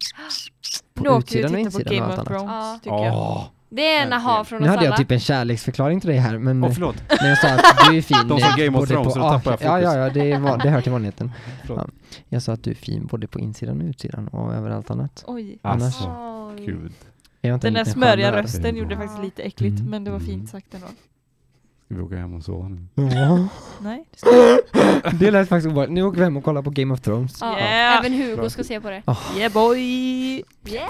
På nu åker vi utsidan och och tittar på insidan och Game allt annat. of Thrones Ja. tycker jag. Åh, Det är en aha Verkligen. från Nu oss hade jag alla. typ en kärleksförklaring till dig här men Åh, förlåt. när jag sa att du är fin De sa Game of både Thrones, på- så tappade jag Ja, fokus. ja, ja, det, är, van- det hör till vanligheten. Förlåt. Ja. Jag sa att du är fin både på insidan och utsidan och överallt annat. Oj. Annars- Alltså, Oj. gud. Är jag inte Den en där liten smöriga stjärna, rösten gjorde faktiskt lite äckligt, Mm. men det var Mm. fint sagt ändå. Ska vi åka hem och sova nu? eller? Ja, Nej, det ska det lät faktiskt obehagligt. Nu åker vi hem och kollar på Game of Thrones. Ja. Yeah. Även Hugo ska se på det. Yeah boy! Yeah!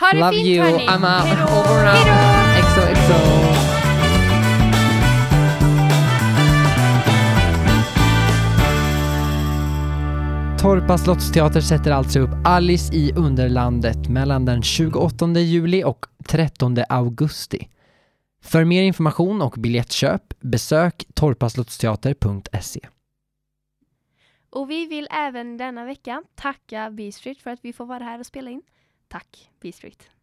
ha det Love fint you, hörni. I'm out. Hejdå. Over and out. Hejdå. XOXO! Torpa slottsteater sätter alltså upp Alice i Underlandet mellan den 28 juli och 13 augusti. För mer information och biljettköp besök torpaslottsteater.se. Och vi vill även denna vecka tacka B-Street för att vi får vara här och spela in. Tack B-Street.